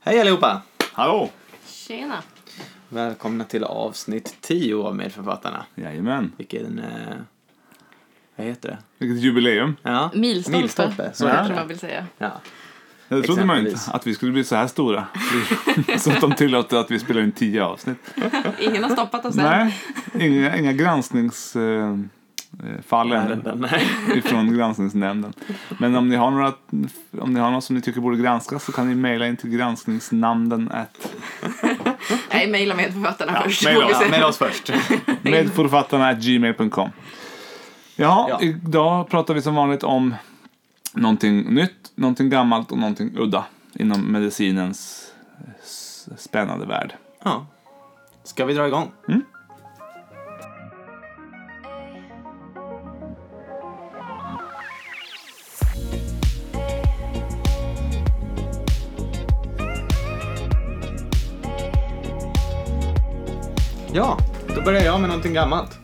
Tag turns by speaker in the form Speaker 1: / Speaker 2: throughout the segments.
Speaker 1: Hej allihopa!
Speaker 2: Hallå!
Speaker 3: Tjena!
Speaker 1: Välkomna till avsnitt 10 av Medförfattarna.
Speaker 2: Jajamän.
Speaker 1: Vilken... Eh, vad heter det?
Speaker 2: Vilket jubileum.
Speaker 1: Ja.
Speaker 3: Milstolpe,
Speaker 1: Milstolpe, så
Speaker 2: Ja.
Speaker 1: heter
Speaker 3: kanske man
Speaker 1: det.
Speaker 3: vill säga.
Speaker 1: Ja.
Speaker 2: Jag trodde man inte
Speaker 1: Exempelvis.
Speaker 2: att vi skulle bli så här stora. så att de tillåter att vi spelar in tio avsnitt.
Speaker 3: Ingen har stoppat oss än.
Speaker 2: Nej, inga, inga granskningsfall eh, fall än
Speaker 1: Ärenden. Nej.
Speaker 2: ifrån granskningsnämnden. Men om ni, har några, om ni har något som ni tycker borde granskas så kan ni mejla in till granskningsnamnden at
Speaker 3: Nej, mejla med författarna först.
Speaker 2: mejla.
Speaker 3: får vi
Speaker 1: Ja,
Speaker 3: se.
Speaker 1: med oss först.
Speaker 2: medforfattarna at gmail.com. Jaha,
Speaker 1: Ja.
Speaker 2: idag pratar vi som vanligt om någonting nytt, någonting gammalt och någonting udda inom medicinens eh, s- spännande värld.
Speaker 1: Ja. Ska vi dra igång? Ja, då börjar jag med någonting gammalt.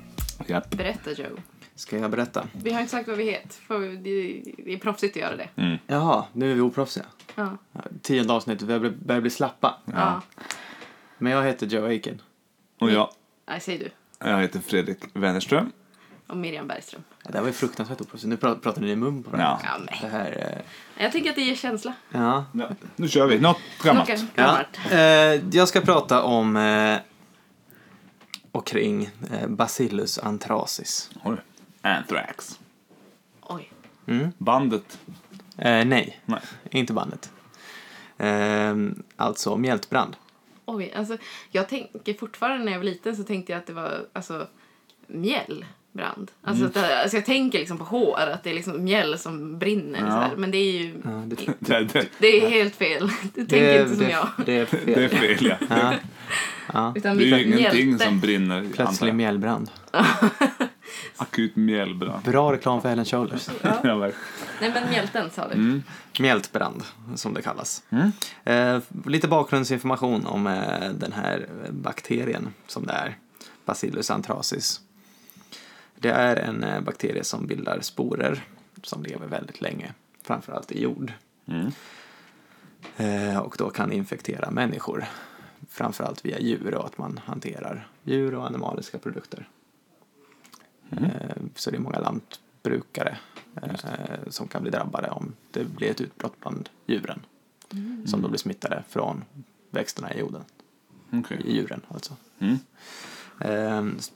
Speaker 2: Japp.
Speaker 3: Berätta Joe.
Speaker 1: Ska jag berätta?
Speaker 3: Vi har inte sagt vad vi heter, för det det är proffsigt att göra det.
Speaker 1: Jaha, nu är vi oproffsiga.
Speaker 3: Ja.
Speaker 1: Ja, Tionde avsnittet, vi börjar- börjar bli slappa.
Speaker 3: Ja.
Speaker 1: Men jag heter Joe Aiken.
Speaker 2: Och jag,
Speaker 3: Nej, säg du.
Speaker 2: jag heter Fredrik Wennerström.
Speaker 3: Och Miriam Bergström.
Speaker 1: Ja, Det här var ju fruktansvärt oproffsigt. Nu pra- pratar ni i mun på varandra.
Speaker 2: Ja.
Speaker 3: Ja,
Speaker 1: Det
Speaker 3: nej.
Speaker 1: här... eh,
Speaker 3: Jag tänker att det ger känsla.
Speaker 1: Ja.
Speaker 2: Nu kör vi, något gammalt.
Speaker 3: Okej,
Speaker 1: Ja.
Speaker 3: gammalt.
Speaker 1: Eh, jag ska prata om eh, och kring eh, Bacillus anthracis.
Speaker 2: Oj. Anthrax.
Speaker 3: Oj.
Speaker 2: Bandet.
Speaker 1: Eh, nej,
Speaker 2: Nej.
Speaker 1: inte bandet. Eh, alltså mjältbrand.
Speaker 3: Oj, alltså jag tänker fortfarande när jag var liten så tänkte jag att det var alltså mjällbrand. Alltså, att det, alltså jag tänker liksom på hår, att det är liksom mjäll som brinner
Speaker 2: Ja.
Speaker 3: så här. Men det är ju
Speaker 1: Ja, det,
Speaker 2: Det, det,
Speaker 3: det är helt fel. Du tänker
Speaker 1: det-
Speaker 3: inte som
Speaker 1: det,
Speaker 3: jag.
Speaker 1: Det är fel.
Speaker 2: det är fel ja.
Speaker 1: ja,
Speaker 3: Utan
Speaker 2: Det är ju
Speaker 3: vilken
Speaker 2: ingenting
Speaker 3: hjälte.
Speaker 2: som brinner. antar
Speaker 1: plötslig
Speaker 2: jag.
Speaker 1: mjällbrand.
Speaker 2: Akut mjällbrand.
Speaker 1: Bra reklam för Helen Shoulders.
Speaker 2: Ja, verkligen.
Speaker 3: Nej men mjälten sa
Speaker 1: Mm.
Speaker 3: du.
Speaker 1: Mjältbrand, som det kallas. Eh, lite bakgrundsinformation om eh, den här bakterien som det är, Bacillus anthracis. Det är en eh, bakterie som bildar sporer som lever väldigt länge, framförallt i jord. Eh, och då kan infektera människor, framförallt via djur och att man hanterar djur och animaliska produkter. Eh, Så det är många lantbrukare eh, som kan bli drabbade om det blir ett utbrott bland djuren. Som då blir smittade från växterna i jorden.
Speaker 2: Okej.
Speaker 1: I djuren alltså.
Speaker 2: Mm.
Speaker 1: Eh, s-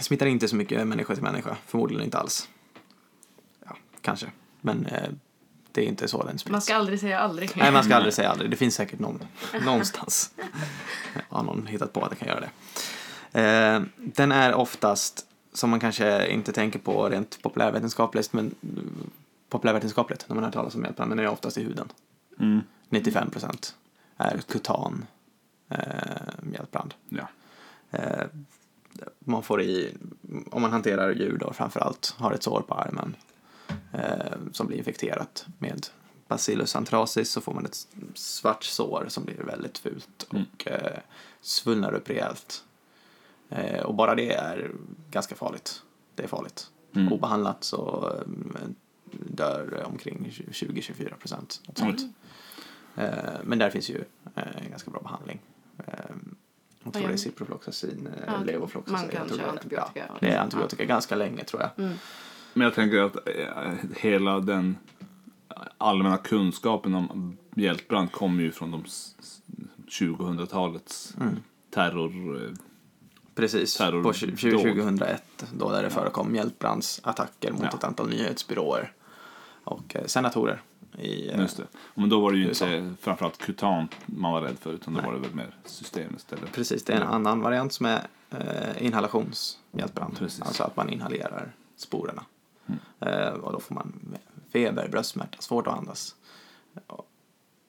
Speaker 1: Smittar inte så mycket människa till människa. Förmodligen inte alls. Ja, kanske. Men eh, det är inte så den sprids.
Speaker 3: Man ska aldrig säga aldrig.
Speaker 1: Nej, man ska aldrig säga aldrig. Det finns säkert någon, någonstans. Har någon hittat på att det kan göra det. Eh, den är oftast, som man kanske inte tänker på rent populärvetenskapligt, men mm, populärvetenskapligt när man hör talas om mjältbrand, men den är oftast i huden.
Speaker 2: Mm.
Speaker 1: 95 procent är kutan eh, mjältbrand.
Speaker 2: Ja.
Speaker 1: Eh, man får i, om man hanterar djur då framförallt, har ett sår på armen eh, som blir infekterat med Bacillus anthracis så får man ett svart sår som blir väldigt fult och eh, svullnar upp rejält. Eh, och bara det är ganska farligt. Det är farligt.
Speaker 2: Mm.
Speaker 1: Obehandlat så eh, dör omkring 20-24 procent.
Speaker 2: Mm.
Speaker 1: något sånt. Eh, men där finns ju eh, en ganska bra behandling. Eh, jag tror det är
Speaker 3: gör man?
Speaker 1: ciprofloxacin, eh,
Speaker 3: Ja,
Speaker 1: levofloxacin.
Speaker 3: man kan
Speaker 1: jag tror
Speaker 3: köra
Speaker 1: det är-
Speaker 3: antibiotika.
Speaker 1: Ja, det är antibiotika ganska länge tror jag.
Speaker 2: Men jag tänker att eh, hela den allmänna kunskapen om hjältbrand kommer ju från de s- s- 2000-talets
Speaker 1: Mm.
Speaker 2: terror... eh,
Speaker 1: Precis,
Speaker 2: Terror-
Speaker 1: på tju- tju-
Speaker 2: dåd.
Speaker 1: 2001 då där det förekom hjältbrandsattacker mot
Speaker 2: Ja.
Speaker 1: ett antal nyhetsbyråer och eh, senatorer. I, eh,
Speaker 2: Just det. Men då var det ju
Speaker 1: USA.
Speaker 2: inte framförallt kutant man var rädd för utan då var det väl mer systemiskt. Eller?
Speaker 1: Precis, det är en
Speaker 3: Mm.
Speaker 1: annan variant som är eh, inhalationshjältbrand.
Speaker 2: Precis.
Speaker 1: Alltså att man inhalerar sporerna.
Speaker 3: Mm.
Speaker 1: Eh, och då får man feber, bröstsmärta, svårt att andas. Och,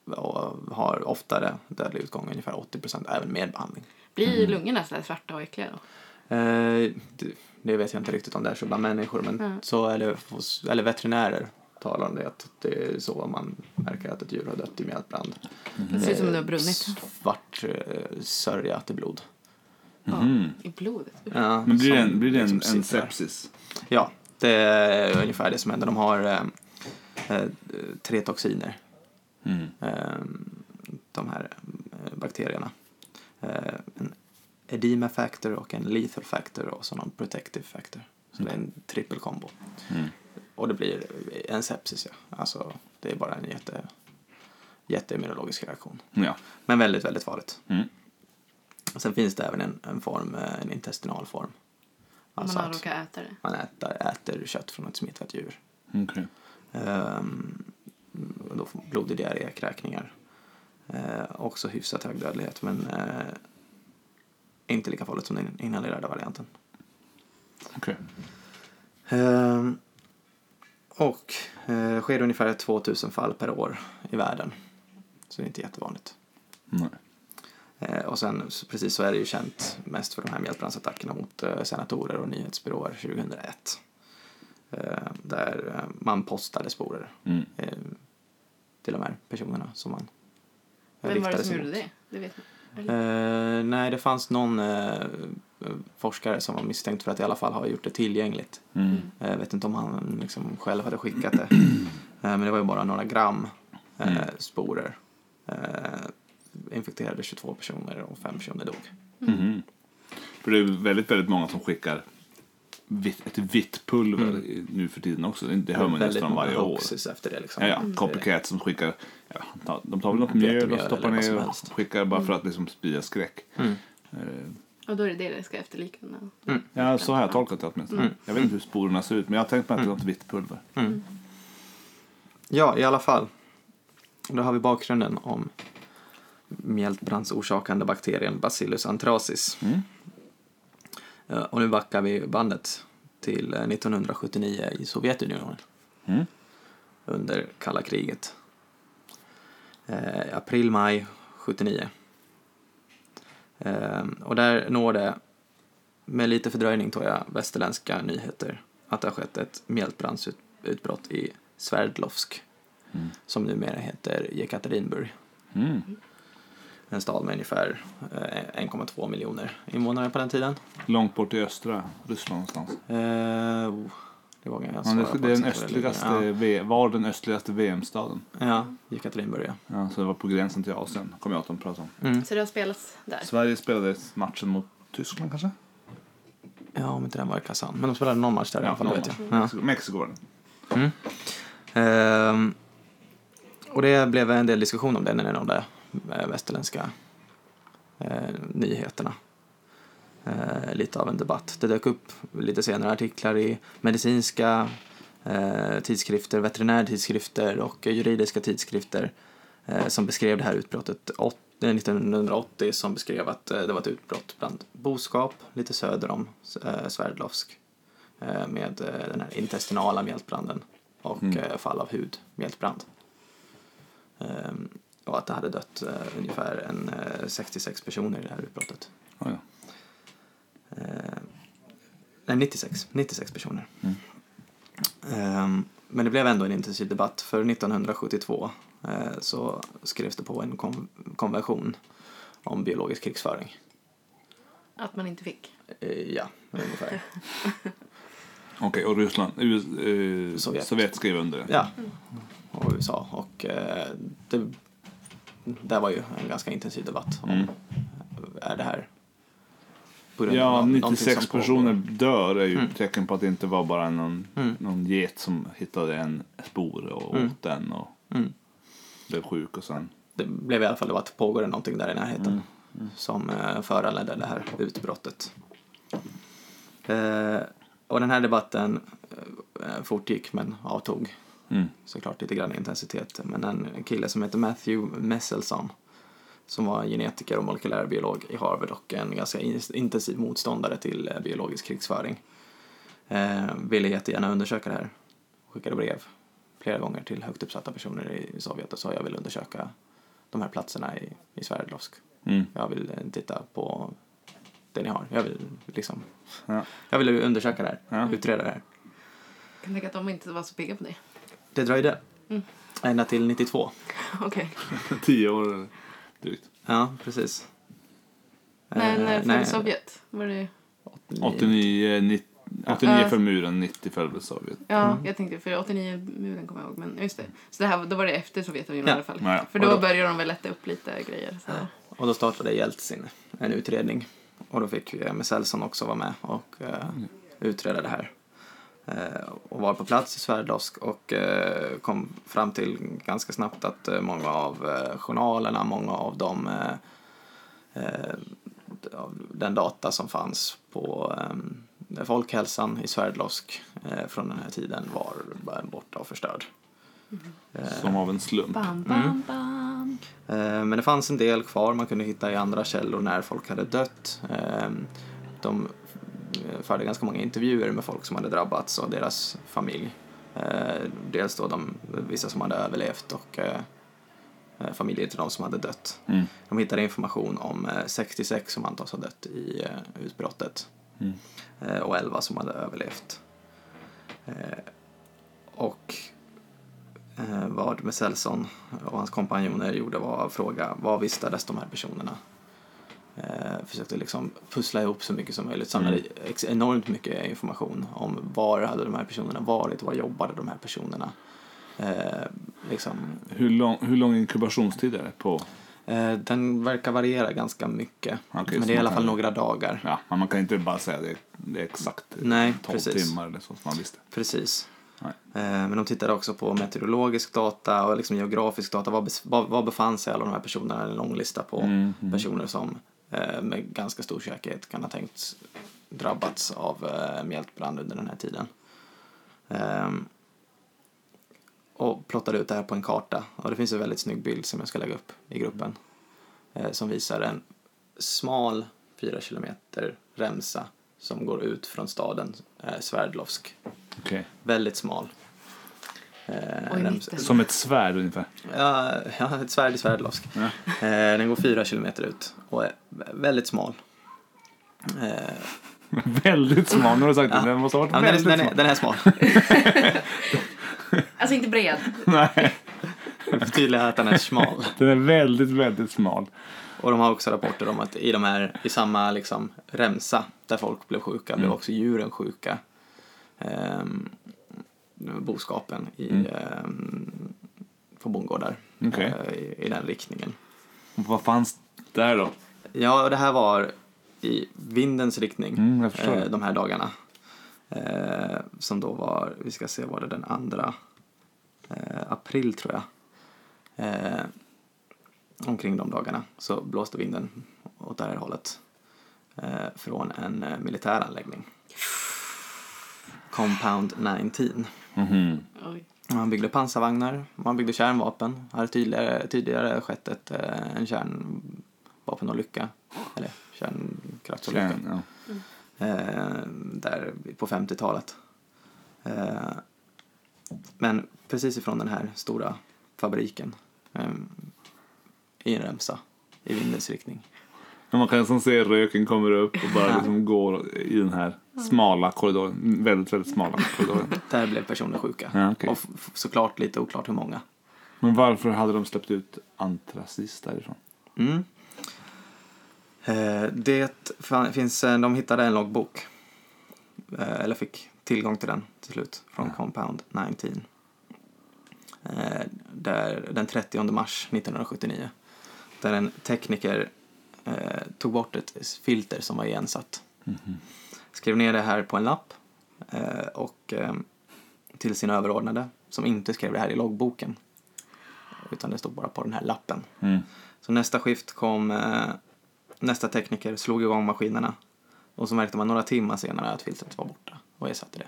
Speaker 1: och har oftare dödlig utgång, ungefär 80% även med behandling.
Speaker 3: Blir lungorna så här svarta och äckliga då?
Speaker 1: Eh, det- det vet jag inte riktigt om det är så bland människor, men
Speaker 3: Mm.
Speaker 1: så är det hos, eller veterinärer talar om det, att det är så man märker att ett djur har dött i mjältbrand.
Speaker 2: Mhm.
Speaker 3: Det ser ut som om det har brunnit. Mm.
Speaker 1: Svart eh, sörja till blod.
Speaker 3: Ja, I blodet.
Speaker 1: Ja,
Speaker 2: Mhm. Men blir det
Speaker 1: som
Speaker 2: en, blir det en,
Speaker 1: liksom
Speaker 2: en
Speaker 1: sipprar.
Speaker 2: sepsis?
Speaker 1: Ja, det är ungefär det som händer. De har eh, eh, tre toxiner.
Speaker 2: Mm.
Speaker 1: Eh, de här bakterierna. Eh, en edema factor och en lethal factor och så någon protective factor. Så det är en trippelkombo.
Speaker 2: Mm.
Speaker 1: Och det blir en sepsis, ja. Alltså, det är bara en jätte, jätteimmunologisk reaktion.
Speaker 2: Ja.
Speaker 1: Men väldigt, väldigt farligt.
Speaker 2: Mm.
Speaker 1: Och sen finns det även en, en form, eh, en intestinal form.
Speaker 3: Om
Speaker 1: Alltså
Speaker 3: man har
Speaker 1: att
Speaker 3: råkat äta det.
Speaker 1: man äter, äter kött från ett smittat djur.
Speaker 2: Okej.
Speaker 1: Ehm, och då får man blodig diarré, kräkningar. Eh, också hyfsat hög dödlighet, men eh, inte lika farligt som den inhalerade varianten.
Speaker 2: Okej.
Speaker 1: Ehm, och eh, sker ungefär 2000 fall per år i världen. Så det är inte jättevanligt.
Speaker 2: Nej.
Speaker 1: Eh, och sen så- precis så är det ju känt mest för de här mjältbrandsattackerna mot eh, senatorer och nyhetsbyråer 2001. Eh, där eh, man postade sporer
Speaker 2: Mm.
Speaker 1: eh, till de här personerna som man eh,
Speaker 3: Vem var det
Speaker 1: riktade
Speaker 3: som
Speaker 1: sig
Speaker 3: gjorde
Speaker 1: mot.
Speaker 3: det? Det vet man.
Speaker 1: Eh, nej, det fanns någon eh, forskare som var misstänkt för att i alla fall ha gjort det tillgängligt.
Speaker 2: Mm.
Speaker 3: Mm.
Speaker 1: Eh, Jag vet inte om han liksom själv hade skickat det. Eh, Men det var ju bara några gram eh,
Speaker 2: Mm.
Speaker 1: sporer. Eh, infekterade 22 personer och 5 personer dog.
Speaker 2: Mhm. För det är väldigt, väldigt många som skickar vitt, ett vitt pulver i- nu för tiden också. Det hör man ju
Speaker 1: Mm. Väldigt
Speaker 2: nästan
Speaker 1: många
Speaker 2: varje år.
Speaker 1: hoaxes efter det liksom.
Speaker 2: Ja, ja.
Speaker 3: Mm.
Speaker 2: Copycat som skickar, ja, ta- de tar väl något
Speaker 1: Jättemjöl
Speaker 2: mjöl och
Speaker 1: eller
Speaker 2: stoppar
Speaker 1: vad som
Speaker 2: ner och
Speaker 1: helst.
Speaker 2: skickar bara för att liksom sprida skräck.
Speaker 1: Mm.
Speaker 2: Eh,
Speaker 3: Och då är det det det ska efterlikna.
Speaker 2: Ja, så har jag tolkat det åtminstone.
Speaker 1: Mm.
Speaker 2: Jag vet inte hur sporerna ser ut, men jag har tänkt mig att det är något vitt pulver.
Speaker 1: Ja, i alla fall. Då har vi bakgrunden om mjältbrandsorsakande bakterien Bacillus anthracis.
Speaker 2: Mm.
Speaker 1: Eh, Och nu backar vi bandet till eh, 1979 i Sovjetunionen.
Speaker 2: Mm.
Speaker 1: under kalla kriget. Eh, april, maj 79. Eh, och där når det, med lite fördröjning tror jag, västerländska nyheter att det har skett ett mjältbrandsutbrott i Sverdlovsk
Speaker 2: Mm.
Speaker 1: som numera heter Jekaterinburg.
Speaker 2: Mm.
Speaker 1: En stad med ungefär eh, 1,2 miljoner invånare på den tiden.
Speaker 2: Långt bort i östra Ryssland någonstans.
Speaker 1: Eh, oh, det vågar jag
Speaker 2: Ja,
Speaker 1: svara
Speaker 2: det,
Speaker 1: på
Speaker 2: det är den
Speaker 1: exakt var ligger.
Speaker 2: östligaste, V- var den östligaste VM-staden.
Speaker 1: Ja, ja Jekaterinburg, ja.
Speaker 2: Ja, så det var på gränsen till Asien, kommer jag att de prata om.
Speaker 1: Mm.
Speaker 3: Så det har spelats där.
Speaker 2: Sverige spelade matchen mot Tyskland kanske?
Speaker 1: Ja, om inte den var i Kazan. Men de spelade någon match där i alla fall, det
Speaker 2: någon
Speaker 1: vet jag.
Speaker 2: match.
Speaker 1: Ja.
Speaker 2: Mexiko- Mexiko var det.
Speaker 1: Ehm, och det blev en del diskussion om det när det nådde eh, västerländska eh, nyheterna. Eh, lite av en debatt. Det dök upp lite senare artiklar i medicinska eh, tidskrifter, veterinärtidskrifter och juridiska tidskrifter eh, som beskrev det här utbrottet åt- eh, 1980 som beskrev att eh, det var ett utbrott bland boskap lite söder om eh, Sverdlovsk eh, med eh, den här intestinala mjältbranden och
Speaker 2: Mm.
Speaker 1: eh, fall av hud, mjältbrand. Ehm, och att det hade dött eh, ungefär en, eh, 66 personer i det här utbrottet.
Speaker 2: Ja, ja.
Speaker 1: Eh, nej, 96, 96 personer.
Speaker 2: Mm.
Speaker 1: Ehm, men det blev ändå en intensiv debatt för 1972 eh, så skrevs det på en kon- konvention om biologisk krigsföring.
Speaker 3: Att man inte fick.
Speaker 1: Eh, ja, ungefär.
Speaker 2: Okej, och Ryssland, US, eh,
Speaker 1: Sovjet.
Speaker 2: Sovjet. skrev under det.
Speaker 1: Ja, och USA. Och eh, det, det var ju en ganska intensiv debatt om
Speaker 2: Mm.
Speaker 1: är det här på grund
Speaker 2: Ja,
Speaker 1: av nå- någonting
Speaker 2: 96
Speaker 1: som pågår?
Speaker 2: personer dör är ju
Speaker 1: Mm.
Speaker 2: ett tecken på att det inte var bara någon,
Speaker 1: Mm.
Speaker 2: någon get som hittade en spor och
Speaker 1: Mm.
Speaker 2: åt den och
Speaker 1: Mm.
Speaker 2: blev sjuk och sen...
Speaker 1: det blev i alla fall att pågår det någonting där i närheten
Speaker 2: Mm.
Speaker 1: som eh, föranledde det här utbrottet. Eh, och den här debatten eh, fortgick men avtog
Speaker 2: Mm.
Speaker 1: såklart lite grann i intensitet. Men en kille som heter Matthew Messelson som var genetiker och molekylärbiolog i Harvard och en ganska in- intensiv motståndare till eh, biologisk krigsföring eh, ville jättegärna undersöka det här. Skickade brev flera gånger till högt uppsatta personer i Sovjet och sa jag vill undersöka de här platserna i, i Sverdlovsk.
Speaker 2: Mm.
Speaker 1: Jag vill eh, titta på det ni har. Jag vill liksom,
Speaker 2: Ja.
Speaker 1: jag vill undersöka det här,
Speaker 2: Ja.
Speaker 1: utreda det här.
Speaker 3: Jag kan tänka att de inte var så pigga på det.
Speaker 1: Det dröjde ända till 92.
Speaker 3: Okej.
Speaker 1: Eh,
Speaker 2: Tio år eller drygt.
Speaker 1: Ja, precis.
Speaker 3: Men
Speaker 1: Eh,
Speaker 3: eh, för
Speaker 1: nej,
Speaker 3: Sovjet var det
Speaker 1: åttio-
Speaker 2: 89, 90, 89
Speaker 3: Ja.
Speaker 2: eh, för muren, 90 för Sovjet.
Speaker 3: Ja,
Speaker 1: Mm.
Speaker 3: jag tänkte för 89 muren kommer jag ihåg. Men just det. Så det här, då var det efter Sovjetunionen
Speaker 1: Ja.
Speaker 3: i alla fall.
Speaker 2: Ja, ja.
Speaker 3: För då,
Speaker 1: Och då-
Speaker 3: började de väl lätta upp lite grejer. Så.
Speaker 1: Och då startade Jeltsin en utredning. Och då fick ju MSLson också vara med och eh, utreda det här. Eh, och var på plats i Sverdlovsk och eh, kom fram till ganska snabbt att eh, många av eh, journalerna, många av de eh, eh, av den data som fanns på eh, folkhälsan i Sverdlovsk eh, från den här tiden var bara borta och förstörd.
Speaker 3: Mm.
Speaker 2: Som av en slump.
Speaker 3: Bam,
Speaker 1: Mm.
Speaker 3: bam, bam.
Speaker 1: Eh, Men det fanns en del kvar man kunde hitta i andra källor när folk hade dött. Eh, De eh, förde ganska många intervjuer med folk som hade drabbats och deras familj. Eh, Dels då de, vissa som hade överlevt och eh, eh, familjer till de som hade dött.
Speaker 2: Mm.
Speaker 1: De hittade information om eh, 66 som antas ha dött i eh, utbrottet
Speaker 2: Mm.
Speaker 1: eh, och 11 som hade överlevt. Eh, Och eh, vad Meselson och hans kompanjoner gjorde var att fråga vad vistades de här personerna? Eh, Försökte liksom pussla ihop så mycket som möjligt, samlade
Speaker 2: Mm.
Speaker 1: ex- enormt mycket information om var hade de här personerna varit, var jobbade de här personerna? Eh, Liksom,
Speaker 2: Hur, lång, hur lång inkubationstid är det på?
Speaker 1: eh, den verkar variera ganska mycket,
Speaker 2: Okej,
Speaker 1: men
Speaker 2: så
Speaker 1: det är i
Speaker 2: man
Speaker 1: alla
Speaker 2: kan-
Speaker 1: fall några dagar.
Speaker 2: Ja, men man kan inte bara säga det, det är exakt
Speaker 1: Nej,
Speaker 2: 12
Speaker 1: precis.
Speaker 2: timmar eller så som man visste.
Speaker 1: Precis.
Speaker 2: Nej.
Speaker 1: Eh, Men de tittade också på meteorologisk data och liksom geografisk data. Var, bes- var, var befann sig alla de här personerna? En lång lista på
Speaker 2: Mm,
Speaker 1: personer som eh, med ganska stor säkerhet kan ha tänkt drabbats av eh, mjältbrand under den här tiden. Ehm, och plottade ut det här på en karta. Och det finns en väldigt snygg bild som jag ska lägga upp i gruppen. Eh, som visar en smal 4 kilometer remsa som går ut från staden eh, Sverdlovsk
Speaker 2: Okej.
Speaker 1: Väldigt smal. Eh,
Speaker 3: Och i
Speaker 1: den-
Speaker 3: mitten.
Speaker 2: Som ett svärd ungefär.
Speaker 1: Ja, ja, ett svärd i Sverdlovsk.
Speaker 2: Ja.
Speaker 1: Eh, den går fyra kilometer ut och är vä- väldigt smal. Eh,
Speaker 2: väldigt smal, nu har du sagt det. Den måste ha
Speaker 1: ja,
Speaker 2: varit
Speaker 1: men den,
Speaker 2: väldigt
Speaker 1: är- den, är,
Speaker 2: smal.
Speaker 1: den är smal.
Speaker 3: Alltså inte bred.
Speaker 2: Nej,
Speaker 1: Tydligen att den är smal.
Speaker 2: den är väldigt, väldigt smal.
Speaker 1: Och de har också rapporter om att i, de här, i samma liksom, remsa där folk blev sjuka blev
Speaker 2: Mm.
Speaker 1: också djuren sjuka. Ehm, boskapen i, ehm, på bondgårdar
Speaker 2: Mm. Okej.
Speaker 1: eh, i, i den riktningen.
Speaker 2: Vad fanns där då?
Speaker 1: Ja, det här var i vindens riktning
Speaker 2: Mm, jag förstår.
Speaker 1: eh, de här dagarna. Eh, som då var, vi ska se, var det den andra eh, april tror jag. Eh, omkring de dagarna så blåste vinden åt det här hållet. Eh, från en eh, militär anläggning. Compound 19.
Speaker 2: Mhm.
Speaker 3: Oj.
Speaker 1: Man byggde pansarvagnar, man byggde kärnvapen. Hade tidigare, tidigare skett ett, eh, en kärnvapenolycka, eller kärnkraftsolycka,
Speaker 2: Kärn, ja.
Speaker 1: eh, där på 50-talet. Eh, men precis ifrån den här stora fabriken eh, i en remsa, i vindens riktning.
Speaker 2: Men man kan liksom se röken kommer upp och bara liksom går i den här smala korridoren. Väldigt, väldigt smala korridoren.
Speaker 1: Där blev personer sjuka.
Speaker 2: Ja, okej.
Speaker 1: Och f- f- såklart lite oklart hur många.
Speaker 2: Men varför hade de släppt ut antracis därifrån?
Speaker 1: Mm. Eh, Det fan- finns, eh, de hittade en loggbok, Eh, eller fick tillgång till den till slut, från Compound 19. Eh, Där, den 30 mars 1979, där en tekniker eh, tog bort ett filter som var igensatt.
Speaker 2: Mhm.
Speaker 1: Skrev ner det här på en lapp eh, och eh, till sin överordnade, som inte skrev det här i loggboken, utan det stod bara på den här lappen.
Speaker 2: Mm.
Speaker 1: Så nästa skift kom eh, nästa tekniker, slog igång maskinerna. Och så märkte man några timmar senare att filtret var borta och ersatte det.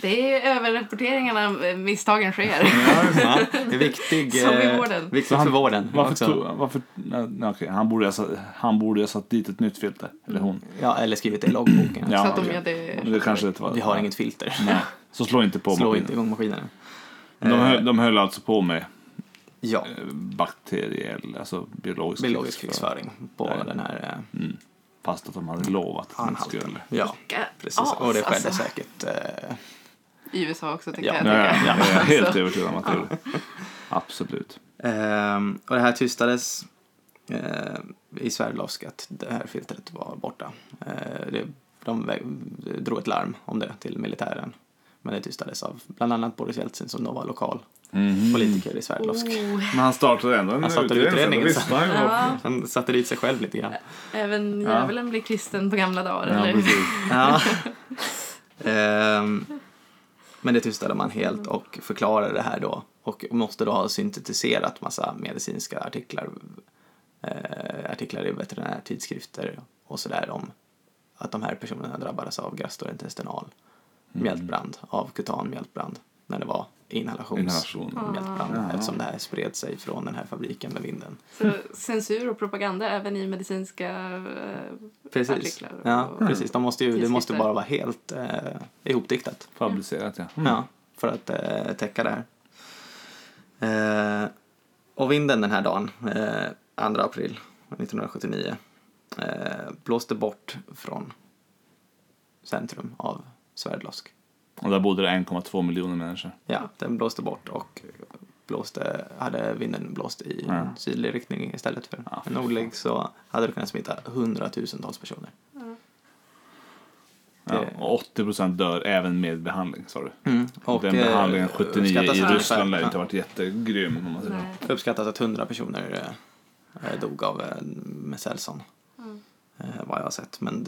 Speaker 3: Det är överrapporteringarna eh, misstagen sker.
Speaker 1: Ja, det är viktig,
Speaker 3: Som i
Speaker 1: eh,
Speaker 3: vården.
Speaker 1: viktigt
Speaker 2: Så han-
Speaker 1: för vården.
Speaker 2: Varför,
Speaker 1: också.
Speaker 2: tog, varför nej, nej, okej, han, borde ha satt, han borde ha satt dit ett nytt filter. Eller hon.
Speaker 1: Ja, eller skrivit det i loggboken.
Speaker 2: Ja,
Speaker 3: så att de
Speaker 2: okej.
Speaker 3: gör det.
Speaker 2: Men Det kanske inte var...
Speaker 1: Vi har inget filter.
Speaker 2: Nej. Så slå inte på
Speaker 1: Slå
Speaker 2: maskinen.
Speaker 1: inte igång maskinerna.
Speaker 2: De, höll, de höll alltså på med
Speaker 1: Ja,
Speaker 2: eh, bakteriell, alltså biologisk,
Speaker 1: biologisk krigsföring på
Speaker 2: Nej.
Speaker 1: den här eh,
Speaker 2: Mm. Fast att de hade lovat att de inte
Speaker 1: anhalten.
Speaker 2: skulle.
Speaker 1: Ja, precis.
Speaker 3: As,
Speaker 1: Och det skedde
Speaker 3: alltså.
Speaker 1: säkert. Eh,
Speaker 3: I USA också tänkte
Speaker 1: Ja.
Speaker 2: Ja,
Speaker 3: jag.
Speaker 2: ja,
Speaker 3: tänka.
Speaker 2: ja, jag är helt
Speaker 3: Alltså.
Speaker 2: övertygad om att det gjorde. Absolut.
Speaker 1: Ehm, och det här tystades eh, i Sverdlovsk att det här filtret var borta. Eh, det, de vä- drog ett larm om det till militären. Men det tystades av bland annat Boris Jeltsin som då var lokal
Speaker 2: Mhm.
Speaker 1: politiker i Sverdlovsk.
Speaker 3: Oh,
Speaker 2: Men han startade ändå en
Speaker 1: Han startade
Speaker 2: utredning.
Speaker 1: utredningen
Speaker 2: så det lyssnade han ju på.
Speaker 3: ja,
Speaker 1: Han satte dit sig själv lite grann.
Speaker 3: även
Speaker 2: Ja.
Speaker 3: djävulen blir kristen på gamla dagar.
Speaker 2: Ja,
Speaker 3: eller?
Speaker 2: precis.
Speaker 1: Ja. Ehm, men det tystade man helt och förklarade det här då och måste då ha syntetiserat massa medicinska artiklar, eh, artiklar i veterinärtidskrifter och sådär om att de här personerna drabbades av gastrointestinal Mm. mjältbrand, av kutan mjältbrand, när det var inhalations
Speaker 2: Inhalation.
Speaker 1: mjältbrand
Speaker 2: Ja.
Speaker 1: eftersom det här spred sig från den här fabriken med vinden.
Speaker 3: Så censur och propaganda även i medicinska... eh,
Speaker 1: Precis,
Speaker 3: Artiklar och-
Speaker 1: ja, precis. Mm. De måste ju, det måste
Speaker 3: Tidskrifter.
Speaker 1: bara vara helt eh, ihopdiktat.
Speaker 2: Fabricerat, ja.
Speaker 1: Ja, för att eh, täcka det här. Eh, och vinden den här dagen, eh, 2 april 1979, eh, blåste bort från centrum av Sverdlovsk.
Speaker 2: Och där bodde det 1,2 miljoner människor.
Speaker 1: Ja, den blåste bort och blåste, hade vinden blåst i en
Speaker 2: Ja.
Speaker 1: sydlig riktning istället för
Speaker 2: Ja,
Speaker 1: en nordlig så hade det kunnat smitta hundratusentals personer.
Speaker 2: Ja, och 80 procent dör även med behandling, sa du.
Speaker 1: Mm. Och,
Speaker 2: Den
Speaker 1: eh,
Speaker 2: behandlingen 79 i
Speaker 1: uppskattas att
Speaker 2: Ryssland lär ju
Speaker 1: ungefär-
Speaker 2: inte ha varit jättegrym. Om man säger.
Speaker 3: Nej.
Speaker 1: Det uppskattas att 100 personer eh, eh, dog av eh, Meselson.
Speaker 3: Mm.
Speaker 1: Eh, vad jag har sett, men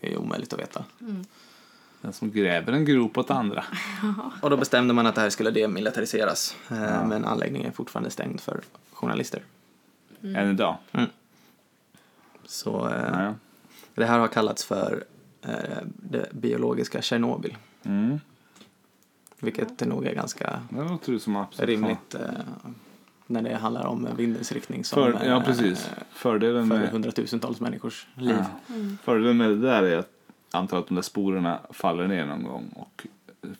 Speaker 1: det är omöjligt att veta.
Speaker 3: Mm.
Speaker 2: Den som gräver en grop åt andra.
Speaker 1: Och då bestämde man att det här skulle demilitariseras. Eh, Men anläggningen är fortfarande stängd för journalister. Mm.
Speaker 2: Än idag.
Speaker 1: Så eh,
Speaker 2: Ja. ja.
Speaker 1: det här har kallats för eh, det biologiska Tjernobyl.
Speaker 2: Mm.
Speaker 1: Vilket det nog är ganska
Speaker 2: Det låter ju som absolut
Speaker 1: rimligt eh, när det handlar om vindens riktning som
Speaker 2: För, ja,
Speaker 1: eh,
Speaker 2: precis. Fördelen
Speaker 1: för Mm.
Speaker 2: med,
Speaker 1: hundratusentals människors liv.
Speaker 2: Ja. fördelen med det där är att jag antar att de där sporerna faller ner någon gång och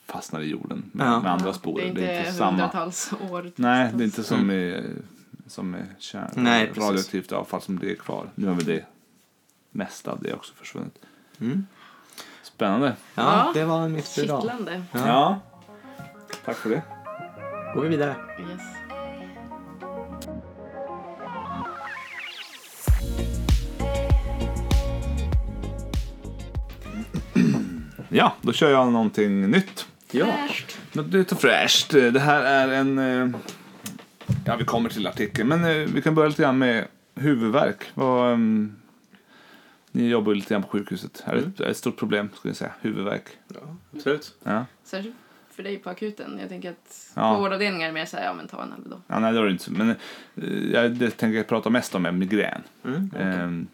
Speaker 2: fastnar i jorden med,
Speaker 1: Ja.
Speaker 2: med andra
Speaker 3: Det
Speaker 2: sporer.
Speaker 3: är inte,
Speaker 2: samma.
Speaker 3: hundratals år.
Speaker 2: Nej, det är inte som med, som med kärn,
Speaker 1: Mm. Nej, precis.
Speaker 2: radioaktivt avfall som det är kvar. Nu har väl det mesta av det också försvunnit.
Speaker 1: Mm.
Speaker 2: Spännande.
Speaker 1: Ja,
Speaker 3: Ja.
Speaker 1: det var mitt idag.
Speaker 3: Kittlande.
Speaker 1: Ja.
Speaker 2: ja. Tack för det.
Speaker 1: Går vi vidare.
Speaker 3: Yes.
Speaker 2: Ja, då kör jag någonting nytt.
Speaker 1: Ja.
Speaker 3: Fräscht.
Speaker 2: Något nytt och fräscht. Det här är en... eh, Ja, vi kommer till artikeln. Men eh, vi kan börja lite grann med huvudvärk. Vad, ehm, ni jobbar ju lite grann på sjukhuset. Här är ett, ett stort problem, skulle jag säga. Huvudvärk.
Speaker 1: ja, absolut.
Speaker 2: Ja.
Speaker 3: Särskilt för dig på akuten. Jag tänker att
Speaker 2: Ja.
Speaker 3: på vårdavdelningar är det mer så här, ja men ta en Alvedon.
Speaker 2: ja nej, det var det inte. så- Men eh, jag, det tänker jag prata mest om är migrän.
Speaker 1: Mm.
Speaker 2: Ehm,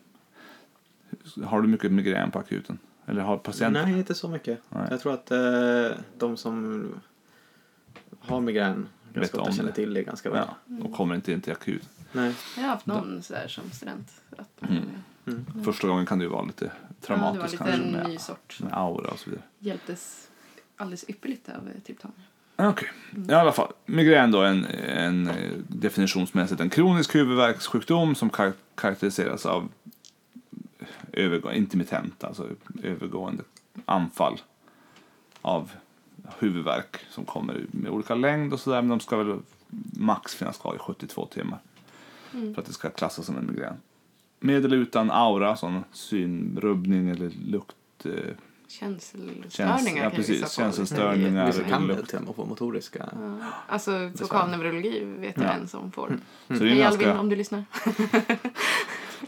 Speaker 2: har du mycket migrän på akuten? Eller har patienter?
Speaker 1: Nej, inte så mycket.
Speaker 2: Nej.
Speaker 1: Jag tror att eh, de som har migrän
Speaker 2: Vet
Speaker 1: ganska
Speaker 2: om
Speaker 1: ofta känner
Speaker 2: det.
Speaker 1: till det ganska väl.
Speaker 2: Ja, och kommer inte in till akuten.
Speaker 1: Nej.
Speaker 3: Jag har haft någon så här som student. Att,
Speaker 2: Mm, Första gången kan det ju vara lite
Speaker 3: Mm. ja, det var
Speaker 2: traumatiskt
Speaker 3: lite
Speaker 2: kanske.
Speaker 3: en
Speaker 2: med-
Speaker 3: ny sort.
Speaker 2: med aura och så vidare.
Speaker 3: Hjälptes alldeles ypperligt av eh, typ Tanja.
Speaker 2: Okej,
Speaker 3: Mm.
Speaker 2: i alla fall. Migrän då är en, en eh, definitionsmässigt en kronisk huvudvärkssjukdom som kar- karaktäriseras av övergå- intermittent, alltså övergående anfall av huvudvärk som kommer med olika längd och sådär men de ska väl max finnas kvar i 72 timmar
Speaker 3: Mm.
Speaker 2: för att det ska klassas som en migrän. Med eller utan aura, sån synrubbning eller lukt... Eh,
Speaker 3: Känselstörningar
Speaker 2: ja,
Speaker 3: kan
Speaker 2: precis.
Speaker 3: ju vissa få.
Speaker 2: Känselstörningar.
Speaker 1: Vissa kan
Speaker 2: lukt.
Speaker 1: väl till och med få motoriska.
Speaker 3: Ja. Alltså fokalneurologi vet jag
Speaker 2: Ja.
Speaker 3: en som får.
Speaker 2: Så det är ju
Speaker 3: Hej
Speaker 2: ganska-
Speaker 3: Alvin om du lyssnar.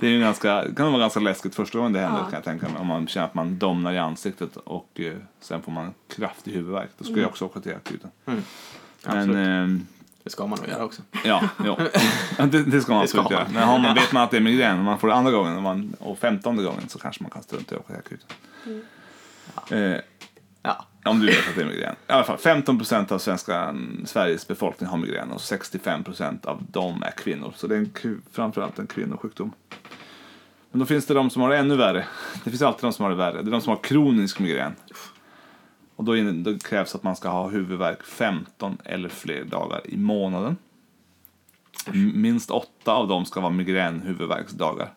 Speaker 2: Det är ju ganska, kan vara ganska läskigt första gången det händer
Speaker 3: Ja.
Speaker 2: kan jag tänka mig. Om man känner att man domnar i ansiktet och eh, sen får man kraftig huvudvärk. Då ska jag också åka till akuten. Men,
Speaker 1: Absolut.
Speaker 2: ehm,
Speaker 1: Det ska man nog göra också.
Speaker 2: ja, ja. Det, det ska man
Speaker 1: Det ska
Speaker 2: absolut göra.
Speaker 1: man.
Speaker 2: Men har man, vet man att det är migrän och man får det andra gången och, man, och femtonde gången så kanske man kan strunta i att åka till akuten. Eh,
Speaker 1: Ja.
Speaker 2: om du vet att det är migrän. I alla fall, 15 procent av svenska, mm, Sveriges befolkning har migrän och 65 procent av dem är kvinnor. Så det är en, ku- framförallt en kvinnosjukdom. Men då finns det de som har det ännu värre. Det finns alltid de som har det värre. Det är de som har kronisk migrän. Och då, in, då krävs att man ska ha huvudvärk 15 eller fler dagar i månaden. M- Minst åtta av dem ska vara migränhuvudvärksdagar.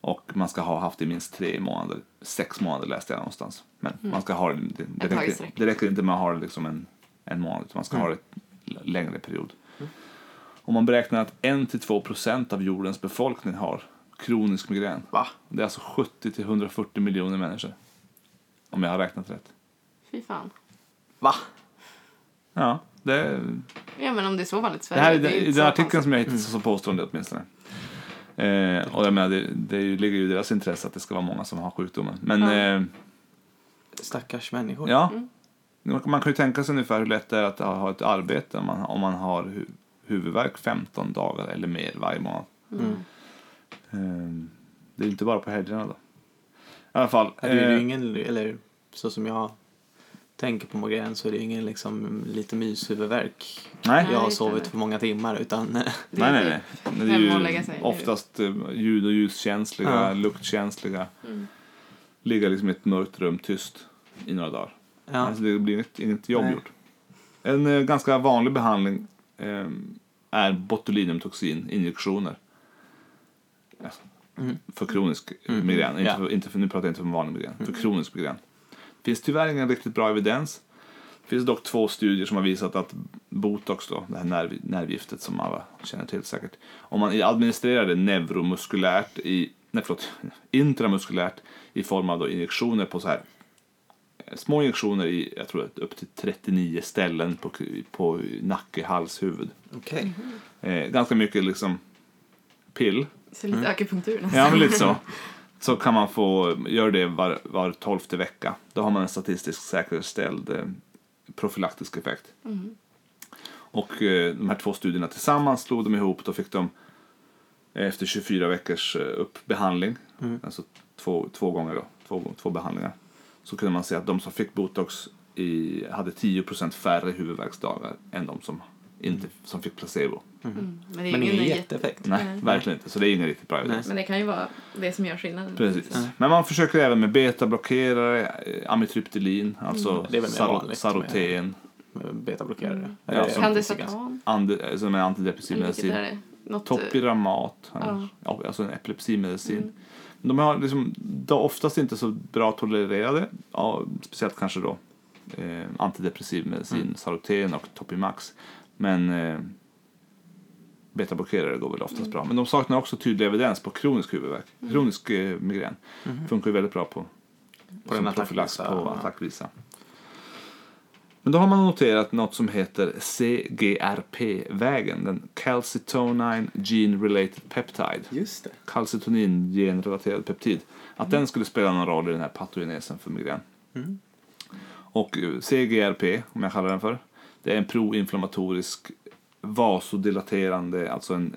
Speaker 2: Och man ska ha haft det i minst tre månader. Sex månader läste jag någonstans. Men man ska ha det, det, det,
Speaker 3: Mm. Ett tag i
Speaker 2: räcker,
Speaker 3: sträck. Mm.
Speaker 2: det räcker inte med att ha det liksom en, en månad. Utan man ska ha det l- längre period. Och man beräknar att 1-2% av jordens befolkning har kronisk migrän.
Speaker 1: Va?
Speaker 2: Det är alltså 70-140 miljoner människor. Om jag har räknat rätt.
Speaker 3: Fy fan.
Speaker 1: Va?
Speaker 2: Ja, det,
Speaker 3: Ja, men om det är så vanligt i
Speaker 2: det
Speaker 3: Sverige.
Speaker 2: här är
Speaker 3: det är ju
Speaker 2: den,
Speaker 3: inte
Speaker 2: den
Speaker 3: så
Speaker 2: artikeln som jag hittade så påstår det åtminstone. Eh, och jag menar, det, det ligger ju i deras intresse att det ska vara många som har sjukdomen. Men
Speaker 3: Ja. Mm.
Speaker 2: eh,
Speaker 1: Stackars människor.
Speaker 2: ja, man kan ju tänka sig ungefär hur lätt det är att ha ett arbete om man, om man har hu- huvudvärk 15 dagar eller mer varje månad.
Speaker 3: Mm.
Speaker 2: Eh, det är ju inte bara på helgerna då. I alla fall.
Speaker 1: Mm. Det är ju
Speaker 2: eh,
Speaker 1: ingen, eller så som jag tänker på migrän så är det ju ingen liksom lite myshuvudvärk.
Speaker 2: nej.
Speaker 1: Jag har
Speaker 3: just det.
Speaker 1: sovit för många timmar utan
Speaker 3: Det
Speaker 2: Nej,
Speaker 3: är
Speaker 2: nej,
Speaker 3: typ
Speaker 2: nej. Men
Speaker 3: hem och
Speaker 2: Det
Speaker 3: lägga
Speaker 2: är
Speaker 3: sig.
Speaker 2: ju oftast eh, ljud och ljuskänsliga,
Speaker 1: Ja.
Speaker 2: luktkänsliga.
Speaker 3: Mm.
Speaker 2: Ligga liksom i ett mörkt rum tyst i några dagar.
Speaker 1: ja,
Speaker 2: Alltså det blir inget, inget jobb
Speaker 1: Nej.
Speaker 2: gjort. En eh, ganska vanlig behandling eh, är botulinumtoxin, injektioner. Alltså,
Speaker 1: Mm.
Speaker 2: För kronisk eh,
Speaker 1: Mm.
Speaker 2: migrän. Inte
Speaker 1: Ja. Mm.
Speaker 2: för, inte för, nu pratar jag inte om vanlig migrän. För kronisk migrän. Det finns tyvärr ingen riktigt bra evidens. Det finns dock två studier som har visat att botox, då, det här nerv, nervgiftet som alla känner till säkert. Om man administrerar det neuromuskulärt, i, nej förlåt, intramuskulärt i form av då injektioner på så här eh, små injektioner i jag tror att upp till 39 ställen på, på nacke, hals, huvud.
Speaker 1: okej.
Speaker 3: Mm,
Speaker 2: Eh, ganska mycket liksom pill.
Speaker 3: Så lite akupunktur nästan.
Speaker 2: Mm. Ja, men lite så. Så kan man få, gör det var, var tolfte vecka. Då har man en statistiskt säkerställd eh, profylaktisk effekt. Och eh, de här två studierna tillsammans slog de ihop. Då fick de eh, efter 24 veckors eh, uppbehandling, alltså två, två gånger då, två, två behandlingar, så kunde man se att de som fick botox i, hade 10% färre huvudvärksdagar än de som, inte, som fick placebo.
Speaker 3: Mm. Men det är
Speaker 1: Men
Speaker 3: ingen
Speaker 1: ingen
Speaker 3: jätte-
Speaker 1: jätteeffekt.
Speaker 2: Nej,
Speaker 3: Nej.
Speaker 2: verkligen inte. Så det är ingen riktigt bra evidens.
Speaker 3: Men det kan ju vara det som gör skillnaden.
Speaker 2: Precis. Men man försöker även med betablockerare, eh, amitriptylin, alltså
Speaker 1: Mm. Det är väl mer
Speaker 2: saro-
Speaker 1: vanligt
Speaker 2: saroten,
Speaker 1: Betablockerare.
Speaker 2: Ja, som-
Speaker 3: Mm. Kan det
Speaker 1: finns ganska-
Speaker 3: Satan?
Speaker 2: ande- som är antidepressiv
Speaker 3: Eller vilket
Speaker 2: medicin,
Speaker 3: är det? Något... eh,
Speaker 2: topiramat,
Speaker 3: Ja. Mm.
Speaker 2: ja. alltså en epilepsimedicin. De har liksom, de är oftast inte så bra tolererade, ja, speciellt kanske då eh, antidepressiv medicin,
Speaker 3: Mm.
Speaker 2: saroten och topimax. Men eh, betablockerare går väl oftast
Speaker 3: Mm.
Speaker 2: bra. Men de saknar också tydlig evidens på kronisk huvudvärk, kronisk eh, migrän.
Speaker 3: Mm-hmm.
Speaker 2: Funkar ju väldigt bra på
Speaker 1: På
Speaker 2: som
Speaker 1: den
Speaker 2: profylax
Speaker 1: attackvisa.
Speaker 2: på attackvisa. Men då har man noterat något som heter CGRP-vägen, den calcitonine gene related peptide,
Speaker 1: Just det.
Speaker 2: calcitonin genrelaterad peptid, att den skulle spela någon roll i den här patogenesen för migrän. Och eh, CGRP, om jag kallar den för, det är en proinflammatorisk vasodilaterande, alltså en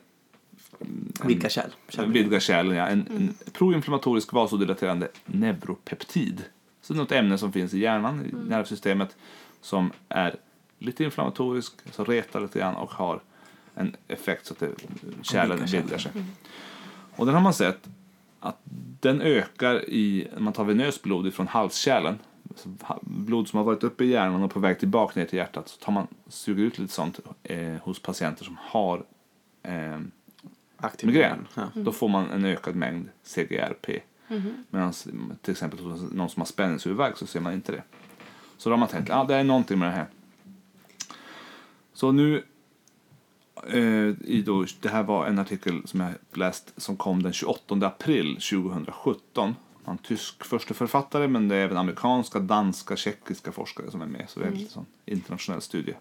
Speaker 1: Vilka kärl? Kärl-
Speaker 2: vidga kärlen, ja. En, en proinflammatorisk vasodilaterande neuropeptid. Så det är något ämne som finns i hjärnan, i nervsystemet, som är lite inflammatorisk, så retar lite grann och har en effekt så att det, kärlen
Speaker 1: Vidgar sig.
Speaker 2: vidgar sig. Och den har man sett att den ökar i, när man tar venöst blod från halskärlen, alltså ha- blod som har varit uppe i hjärnan och på väg tillbaka ner till hjärtat, så tar man, suger ut lite sånt eh, hos patienter som har ehm,
Speaker 1: Aktiv
Speaker 2: migrän.
Speaker 1: Ja.
Speaker 2: Då får man en ökad mängd CGRP. Medan till exempel hos någon som har spänningshuvudvärk så ser man inte det. Så då har man tänkt att ah, det är någonting med det här. Så nu, eh, i då, det här var en artikel som jag läst som kom den 28 april 2017. Han är tysk förste författare men det är även amerikanska, danska, tjeckiska forskare som är med. Så det är en lite sån internationell studie.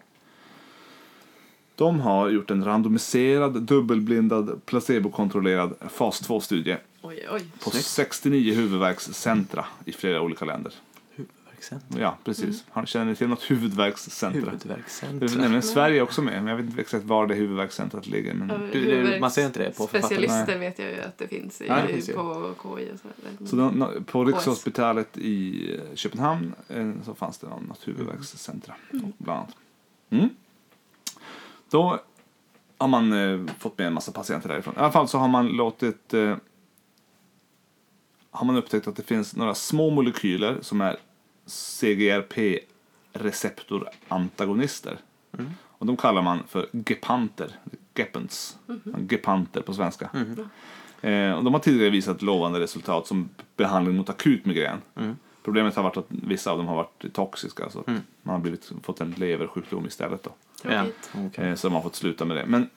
Speaker 2: De har gjort en randomiserad, dubbelblindad, placebokontrollerad fas 2-studie
Speaker 3: Oj, oj.
Speaker 2: på
Speaker 1: Snyggt.
Speaker 2: 69 huvudvärkscentra i flera olika länder.
Speaker 1: Huvudvärkscentrum.
Speaker 2: Ja, precis. Har- Känner ni till något huvudvärkscentra? Det är
Speaker 1: Huvudvärkscentrum.
Speaker 2: nämligen Sverige också med, men jag vet inte exakt var det huvudvärkscentret ligger. Men...
Speaker 1: Du, du, man ser inte det på
Speaker 3: Specialister vet jag ju att det finns i,
Speaker 2: Ja, det
Speaker 1: finns ju.
Speaker 3: på KI och sådär.
Speaker 2: Så de, no- på Rikshospitalet i eh, Köpenhamn eh, så fanns det någon- något huvudvärkscentra. och Bland annat. Mm. Då har man eh, fått med en massa patienter därifrån. I alla fall så har man låtit eh, har man upptäckt att det finns några små molekyler som är CGRP-receptorantagonister. Och de kallar man för gepanter. Gepants. Gepanter på svenska. Eh, och de har tidigare visat lovande resultat som behandling mot akut migrän. Problemet har varit att vissa av dem har varit toxiska. Så att Man har blivit, fått en leversjukdom istället. Då.
Speaker 1: Ja.
Speaker 3: Tråkigt.
Speaker 1: okej.
Speaker 2: Eh, Så de har fått sluta med det. Men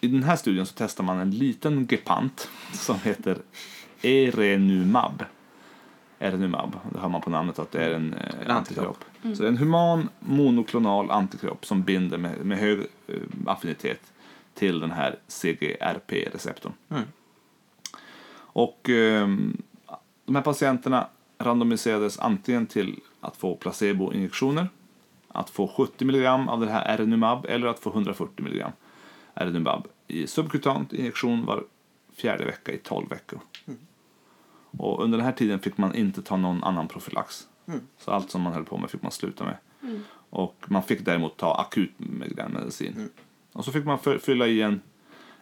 Speaker 2: i den här studien så testar man en liten gepant som heter Erenumab. Erenumab, det hör man på namnet att det är en, eh,
Speaker 1: En antikropp.
Speaker 2: antikropp. Så det är en human monoklonal antikropp som binder med, med hög eh, affinitet till den här CGRP-receptorn.
Speaker 1: Mm.
Speaker 2: Och ehm, de här patienterna randomiserades antingen till att få placeboinjektioner, att få 70 mg av det här RNUMAB eller att få 140 mg RNUMAB i subkutant injektion var fjärde vecka i 12 veckor. Och under den här tiden fick man inte ta någon annan profylax. Så allt som man höll på med fick man sluta med. Och man fick däremot ta akut migränmedicin. Och så fick man fö- fylla i en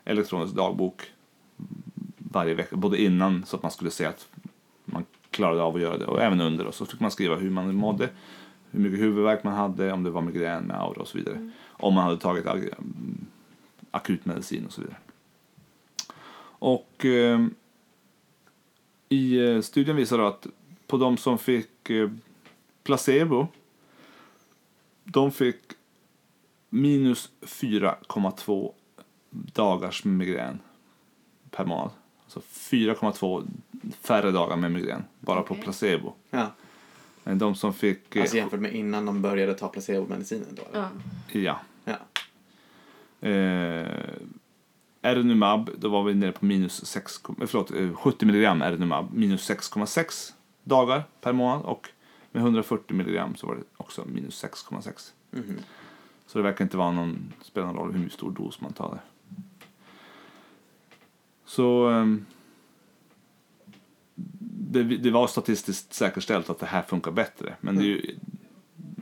Speaker 2: elektronisk dagbok varje vecka, både innan så att man skulle se att man klarade av att göra det och även under och så fick man skriva hur man mådde, hur mycket huvudvärk man hade, om det var migrän med aura och så vidare. Om man hade tagit ag- mm, akutmedicin och så vidare. Och eh, i eh, studien visar då att på de som fick eh, placebo, de fick minus 4,2 dagars migrän per månad. Alltså 4,2 färre dagar med migrän, bara på
Speaker 3: Okej.
Speaker 2: placebo.
Speaker 1: Ja.
Speaker 2: Men de som fick... eh,
Speaker 1: Alltså jämfört med innan de började ta placebomedicinen då? eller?
Speaker 3: Ja.
Speaker 2: ja.
Speaker 1: Ja.
Speaker 2: Eh, RNUMAB, då var vi nere på minus 6, kom- eh, förlåt, eh, 70 milligram RNUMAB, minus 6,6 dagar per månad och med 140 milligram så var det också minus 6,6.
Speaker 1: Mhm.
Speaker 2: Så det verkar inte vara någon, spela någon roll hur stor dos man tar där. Så ehm, det, det var statistiskt säkerställt att det här funkar bättre. Men det är ju,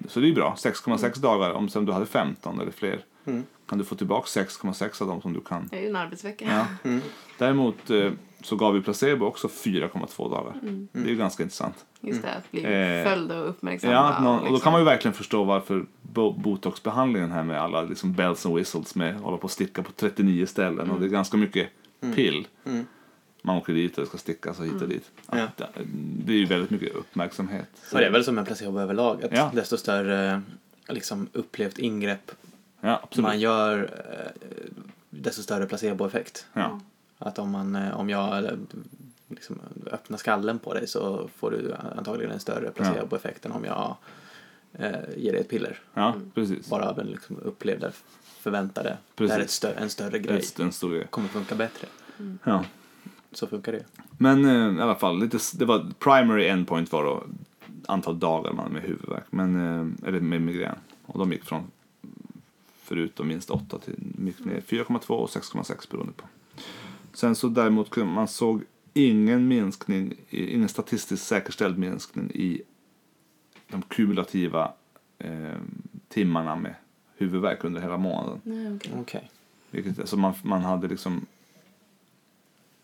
Speaker 2: så det är ju bra. 6,6 dagar. Om sen du hade 15 eller fler
Speaker 1: Mm.
Speaker 2: kan du få tillbaka 6,6 av dem som du kan.
Speaker 3: Det är ju en arbetsvecka.
Speaker 2: Ja.
Speaker 1: Mm.
Speaker 2: Däremot eh, så gav vi placebo också 4,2 dagar.
Speaker 1: Mm.
Speaker 2: Det är ju ganska intressant.
Speaker 3: Just det, att bli
Speaker 2: Eh,
Speaker 3: följd och uppmärksamma.
Speaker 2: Ja, att någon, och då
Speaker 3: liksom.
Speaker 2: kan man ju verkligen förstå varför bo- botoxbehandlingen här med alla liksom bells and whistles med hålla på och sticka på 39 ställen och det är ganska mycket pill.
Speaker 1: Mm.
Speaker 2: Man åker dit och det ska stickas och hit och dit. Att
Speaker 1: Ja.
Speaker 2: det- Det är ju väldigt mycket uppmärksamhet.
Speaker 1: Så det är väl som med placebo överlag, att
Speaker 2: Ja.
Speaker 1: desto större liksom, upplevt ingrepp
Speaker 2: Ja, absolut.
Speaker 1: man gör, eh, desto större placeboeffekt.
Speaker 2: Ja.
Speaker 1: Att om, man, eh, om jag eh, liksom, öppnar skallen på dig så får du antagligen en större placeboeffekt än om jag eh, ger dig ett piller.
Speaker 2: ja, precis.
Speaker 1: Mm. Bara av den liksom, upplevda, förväntade,
Speaker 2: Precis.
Speaker 1: det här är ett stö- en större
Speaker 2: Det
Speaker 1: grej,
Speaker 2: är en stor grej.
Speaker 1: kommer funka bättre.
Speaker 2: Ja.
Speaker 1: Så funkar det.
Speaker 2: Men eh, i alla fall, lite, s- det var primary endpoint var då antal dagar man med huvudvärk, men, eh, eller med migrän. Och de gick från förutom minst 8 till gick ner 4,2 och 6,6 beroende på. Sen så däremot kunde- man såg ingen minskning, i- ingen statistiskt säkerställd minskning i de kumulativa eh, timmarna med huvudvärk under hela månaden.
Speaker 3: Nej, okej.
Speaker 2: Mm.
Speaker 1: Okej.
Speaker 2: Vilket, alltså man, man hade liksom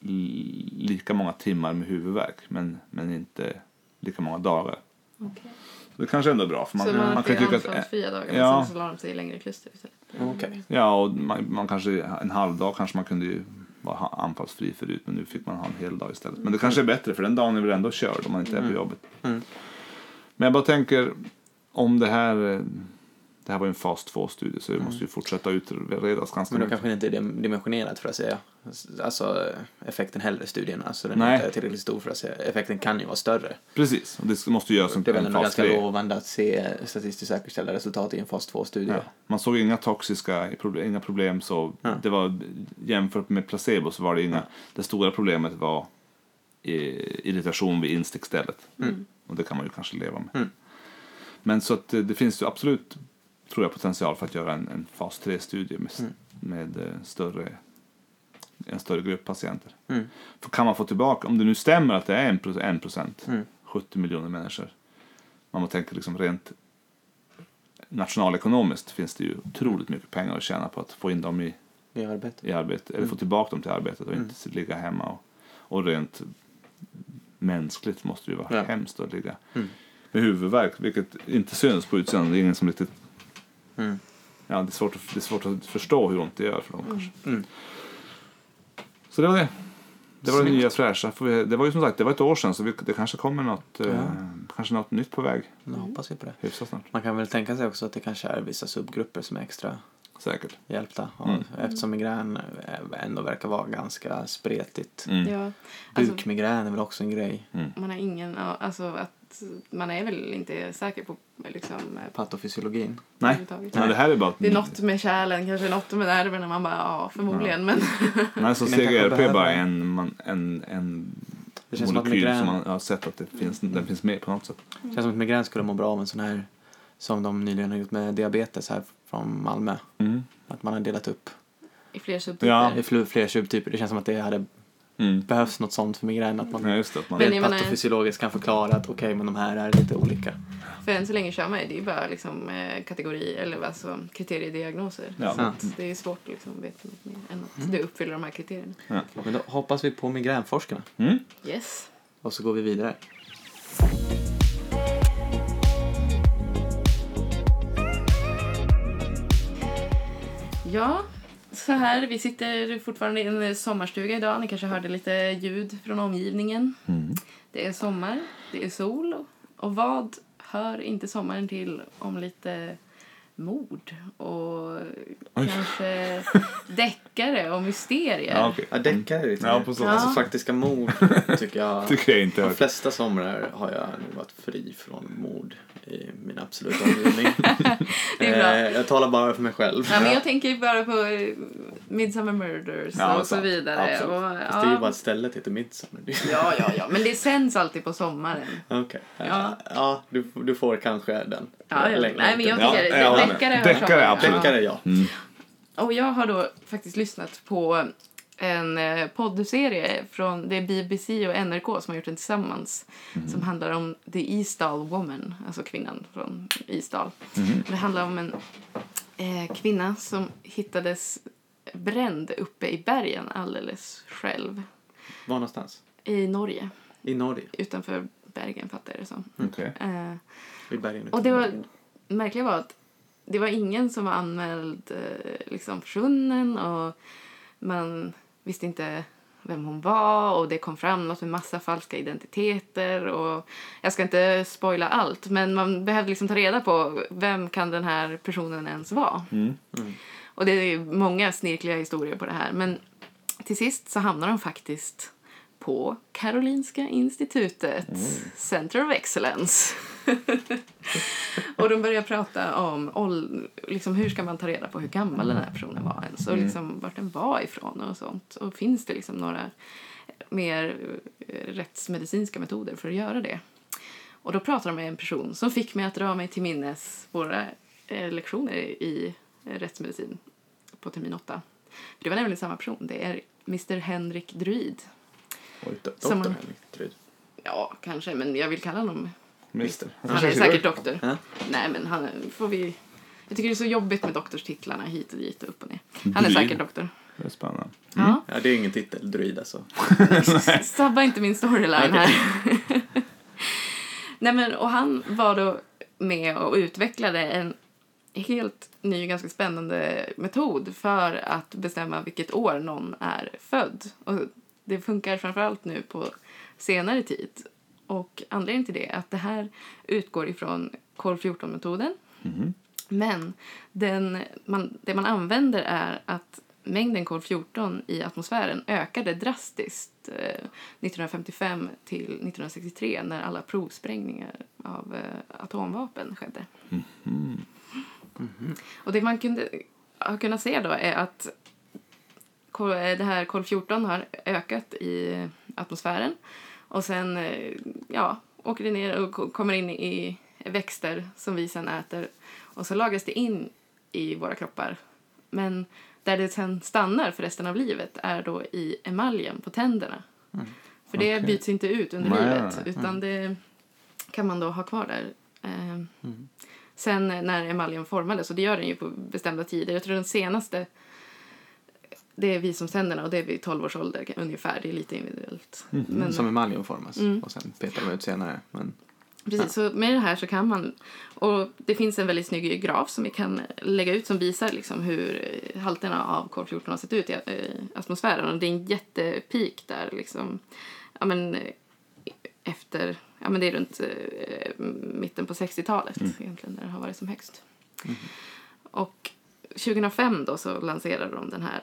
Speaker 2: l- lika många timmar med huvudvärk men, men inte lika många dagar.
Speaker 3: Okej.
Speaker 2: Så det kanske ändå är bra. För man,
Speaker 3: så man,
Speaker 2: man kan
Speaker 3: kan
Speaker 2: ju tycka att... eh,
Speaker 3: anfallsfria dagar,
Speaker 2: ja.
Speaker 3: men sen så la de sig i längre kluster istället.
Speaker 1: Okej.
Speaker 2: Ja, och man, man kanske, en halv dag kanske man kunde ju vara ha- anfallsfri förut men nu fick man ha en hel dag istället. Men det kanske är bättre för den dagen är väl ändå körd om man inte är på jobbet.
Speaker 1: Mm.
Speaker 2: Men jag bara tänker om det här... eh, Det här var ju en fas 2-studie så det måste ju fortsätta utredas ganska
Speaker 1: Mm. Men då
Speaker 2: mycket.
Speaker 1: kanske det inte är dim- dimensionerat för att se alltså, effekten heller i studien. Alltså den
Speaker 2: Nej.
Speaker 1: är inte tillräckligt stor för att se. Effekten kan ju vara större.
Speaker 2: Precis, och det måste ju göras en,
Speaker 1: Det är väl
Speaker 2: Alltså, en
Speaker 1: ändå
Speaker 2: fas
Speaker 1: ganska
Speaker 2: 3.
Speaker 1: lovande att se statistiskt säkerställda resultat i en fas 2-studie.
Speaker 2: Ja. Man såg inga toxiska proble- inga problem. Så
Speaker 1: Ja.
Speaker 2: det var, jämfört med placebo så var det inga... Det stora problemet var eh, irritation vid instickstället. Och det kan man ju kanske leva med.
Speaker 1: Mm.
Speaker 2: Men så att eh, det finns ju absolut tror jag, potential för att göra en, en fas 3-studie med, s-
Speaker 1: Mm.
Speaker 2: med eh, större, en större grupp patienter.
Speaker 1: Mm.
Speaker 2: För kan man få tillbaka, om det nu stämmer att det är 1%, 1%
Speaker 1: Mm.
Speaker 2: 70 miljoner människor. Man måste tänka liksom rent nationalekonomiskt finns det ju otroligt mycket pengar att tjäna på att få in dem i,
Speaker 1: Vi gör bättre.
Speaker 2: i arbete, eller få tillbaka dem till arbetet och
Speaker 1: Mm.
Speaker 2: inte ligga hemma. Och, och rent mänskligt måste det ju vara
Speaker 1: Ja.
Speaker 2: hemskt att ligga
Speaker 1: Mm.
Speaker 2: med huvudvärk, vilket inte syns på utsidan. Det är ingen som riktigt...
Speaker 1: Mm.
Speaker 2: Ja, det, är svårt att, det är svårt att förstå hur ont det gör för dem kanske.
Speaker 1: Mm.
Speaker 2: Så det var det. Det var det nya fräscha. Får vi- Det var ju som sagt det var ett år sedan så vi, det kanske kommer något, eh,
Speaker 1: Ja.
Speaker 2: kanske något nytt på väg
Speaker 1: Nu hoppas vi på det.
Speaker 2: hyfsat snart.
Speaker 1: Man kan väl tänka sig också att det kanske är vissa subgrupper som är extra
Speaker 2: Säkert.
Speaker 1: hjälpta. av-
Speaker 2: Mm.
Speaker 1: Eftersom migrän ändå verkar vara ganska spretigt.
Speaker 2: Mm.
Speaker 3: Ja, alltså,
Speaker 1: Bukmigrän är väl också en grej.
Speaker 3: man har ingen, ja, alltså att att man är väl inte säker på liksom, eh,
Speaker 1: Patofysiologin.
Speaker 2: Nej.
Speaker 3: överhuvudtaget.
Speaker 2: Nej, det här är bara...
Speaker 3: Det är något med kärlen, kanske något med nerverna. och Man bara, ja, förmodligen. Men
Speaker 2: Nej, så
Speaker 1: Men kanske
Speaker 2: CGRP är bara
Speaker 1: behöver-
Speaker 2: en, man, en, en
Speaker 1: Det känns som att
Speaker 2: molekyl som,
Speaker 1: migrän-
Speaker 2: man har sett att det finns, den finns med på något sätt.
Speaker 1: Det känns som att migrän skulle må bra av en sån här som de nyligen har gjort med diabetes här från Malmö.
Speaker 2: Mm.
Speaker 1: Att man har delat upp
Speaker 3: i fler subtyper.
Speaker 2: Ja.
Speaker 1: i fl- fler subtyper. Det känns som att det hade
Speaker 2: Mm.
Speaker 1: behövs något sånt för migrän. Att man
Speaker 2: Ja, just det. Att man,
Speaker 3: Men-
Speaker 1: rent
Speaker 3: jag menar-
Speaker 1: patofysiologiskt kan förklara att okej, men de här är lite olika.
Speaker 3: För än så länge kör man ju, det är ju bara liksom, eh, kategorier, eller alltså kriteriediagnoser.
Speaker 2: Ja. Mm.
Speaker 3: Så att det är svårt liksom, att veta något mer än att det uppfyller de här kriterierna.
Speaker 1: Men då hoppas vi på migränforskarna
Speaker 2: mm.
Speaker 3: Yes.
Speaker 1: och så går vi vidare.
Speaker 3: Ja, så här. Vi sitter fortfarande i en eh, sommarstuga idag. Ni kanske hörde lite ljud från omgivningen.
Speaker 2: Mm.
Speaker 3: Det är sommar, det är sol. Och vad hör inte sommaren till om lite mord och kanske deckare och mysterier?
Speaker 2: ja, okej.
Speaker 1: Ja, deckare är lite
Speaker 2: Ja,
Speaker 1: mer.
Speaker 2: på så sätt.
Speaker 1: Alltså
Speaker 3: Ja.
Speaker 1: faktiska mord tycker jag.
Speaker 2: tycker jag inte.
Speaker 1: De
Speaker 2: Hört.
Speaker 1: flesta somrar har jag nog varit fri från mord i min absoluta omgivning.
Speaker 3: Det är bra.
Speaker 1: Eh, jag talar bara för mig själv.
Speaker 3: Ja, men jag tänker bara på eh, Midsummer Murders
Speaker 2: Ja,
Speaker 3: och så
Speaker 2: sant.
Speaker 3: vidare.
Speaker 2: Absolut.
Speaker 3: Och,
Speaker 1: Fast det är ju bara
Speaker 3: ja,
Speaker 1: att stället heter Midsommar.
Speaker 3: ja, ja, ja, men det sänds alltid på sommaren.
Speaker 1: Okej.
Speaker 3: Ja.
Speaker 1: Ja, du, du får kanske den.
Speaker 3: Ja, ja.
Speaker 1: Längre
Speaker 3: Nej, men jag
Speaker 1: inte.
Speaker 2: Ja,
Speaker 3: tycker
Speaker 2: jag
Speaker 3: det,
Speaker 2: håller med.
Speaker 3: deckare hör
Speaker 2: Deckare,
Speaker 3: sommaren.
Speaker 2: absolut.
Speaker 1: Deckare, ja.
Speaker 3: Och jag har då faktiskt lyssnat på en eh, poddserie från det är BBC och NRK som har gjort den tillsammans som handlar om The Eastall Woman, alltså kvinnan från Eastall. Det handlar om en eh, kvinna som hittades bränd uppe i bergen alldeles själv
Speaker 1: Var någonstans?
Speaker 3: i Norge,
Speaker 1: I Norge.
Speaker 3: utanför Bergen fattar jag det som.
Speaker 2: Okej.
Speaker 3: Eh,
Speaker 1: I bergen
Speaker 3: och det var, märkliga var att det var ingen som var anmäld eh, liksom försvunnen och man visste inte vem hon var och det kom fram något med massa falska identiteter och jag ska inte spoila allt men man behövde liksom ta reda på vem kan den här personen ens vara. Och det är många snirkliga historier på det här men till sist så hamnar de faktiskt på Karolinska institutet, Center of Excellence. Och de börjar prata om ål- liksom, hur ska man ta reda på hur gammal den här personen var ens och liksom, vart den var ifrån och sånt. Och finns det liksom några mer eh, rättsmedicinska metoder för att göra det? Och då pratar de med en person som fick mig att dra mig till minnes våra eh, lektioner i eh, rättsmedicin på termin 8. För det var nämligen samma person. Det är Mr Henrik Druid.
Speaker 1: Oj, do-
Speaker 3: Som-
Speaker 1: doktorn Henrik Tryd.
Speaker 3: Ja, kanske, men jag vill kalla honom
Speaker 2: Mister.
Speaker 3: Han är säkert doktor.
Speaker 1: Ja.
Speaker 3: Nej, men han får vi... Jag tycker det är så jobbigt med doktorstitlarna hit och dit och upp och ner. Han är
Speaker 2: Druid.
Speaker 3: säkert doktor.
Speaker 2: Det är spännande.
Speaker 3: Ja.
Speaker 1: Ja, det är ingen titel. Druid alltså.
Speaker 3: Sabba inte min storyline här. Nej, men och han var då med och utvecklade en helt ny, ganska spännande metod för att bestämma vilket år någon är född. Och det funkar framförallt nu på senare tid. Och anledningen till det är att det här utgår ifrån kol 14 metoden Men den, man, det man använder är att mängden kol-14 i atmosfären ökade drastiskt eh, 1955 till 1963 när alla provsprängningar av eh, atomvapen skedde. Och det man kunde, har kunnat se då är att kol, eh, det här kol-14 har ökat i atmosfären och sen eh, ja, åker det ner och ko- kommer in i växter som vi sen äter och så lagras det in i våra kroppar. Men där det sen stannar för resten av livet är då i emaljen på tänderna. För det
Speaker 2: Mm. Okej.
Speaker 3: byts inte ut under
Speaker 2: Nej,
Speaker 3: livet
Speaker 2: nej, Mm.
Speaker 3: utan det kan man då ha kvar där. Eh, Sen när emaljen formades, och det gör den ju på bestämda tider. Jag tror den senaste det är vi som sänderna och det är vid 12 års ålder ungefär. Det är lite individuellt. Men,
Speaker 1: Som emaljen formas
Speaker 3: Mm.
Speaker 1: och sen petar de ut senare. Men
Speaker 3: precis, så med det här så kan man... Och det finns en väldigt snygg graf som vi kan lägga ut som visar liksom hur eh, halterna av kol-14 har sett ut i eh, atmosfären. Och det är en jättepik där liksom. Ja men eh, efter... Ja men det är runt eh, mitten på 60-talet egentligen när det har varit som högst. Och 2005 då så lanserade de den här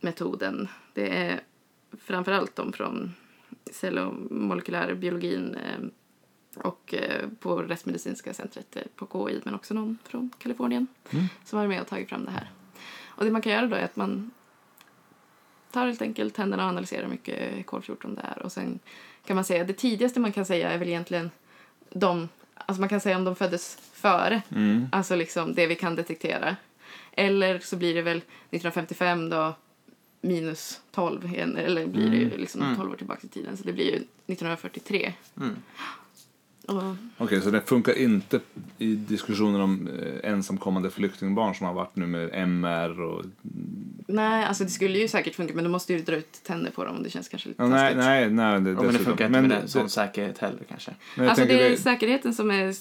Speaker 3: metoden. Det är framförallt de från cell och molekylärbiologin eh, Och eh, på Rättsmedicinska centret eh, på KI, men också någon från Kalifornien som var med och tagit fram det här. Och det man kan göra då är att man tar helt enkelt tänderna och analyserar hur mycket kol-14 det är. Och sen kan man säga, det tidigaste man kan säga är väl egentligen de, alltså man kan säga om de föddes före,
Speaker 2: Mm.
Speaker 3: alltså liksom det vi kan detektera. Eller så blir det väl 1955 då minus 12, igen, eller blir det ju liksom 12 år tillbaka i tiden, så det blir ju 1943.
Speaker 1: Mm.
Speaker 3: Och,
Speaker 2: Okej, så det funkar inte i diskussioner om eh, ensamkommande flyktingbarn som har varit nu med MR och...
Speaker 3: nej, alltså det skulle ju säkert funka, men då måste du dra ut tänder på dem och det känns kanske lite
Speaker 2: Ja, nej,
Speaker 3: taskigt.
Speaker 2: nej, nej, det,
Speaker 1: Ja, men det
Speaker 2: dessutom.
Speaker 1: funkar inte med
Speaker 2: det-
Speaker 1: det, sån säkerhet heller kanske.
Speaker 2: men jag
Speaker 3: Alltså
Speaker 2: tänker
Speaker 3: det är säkerheten som är...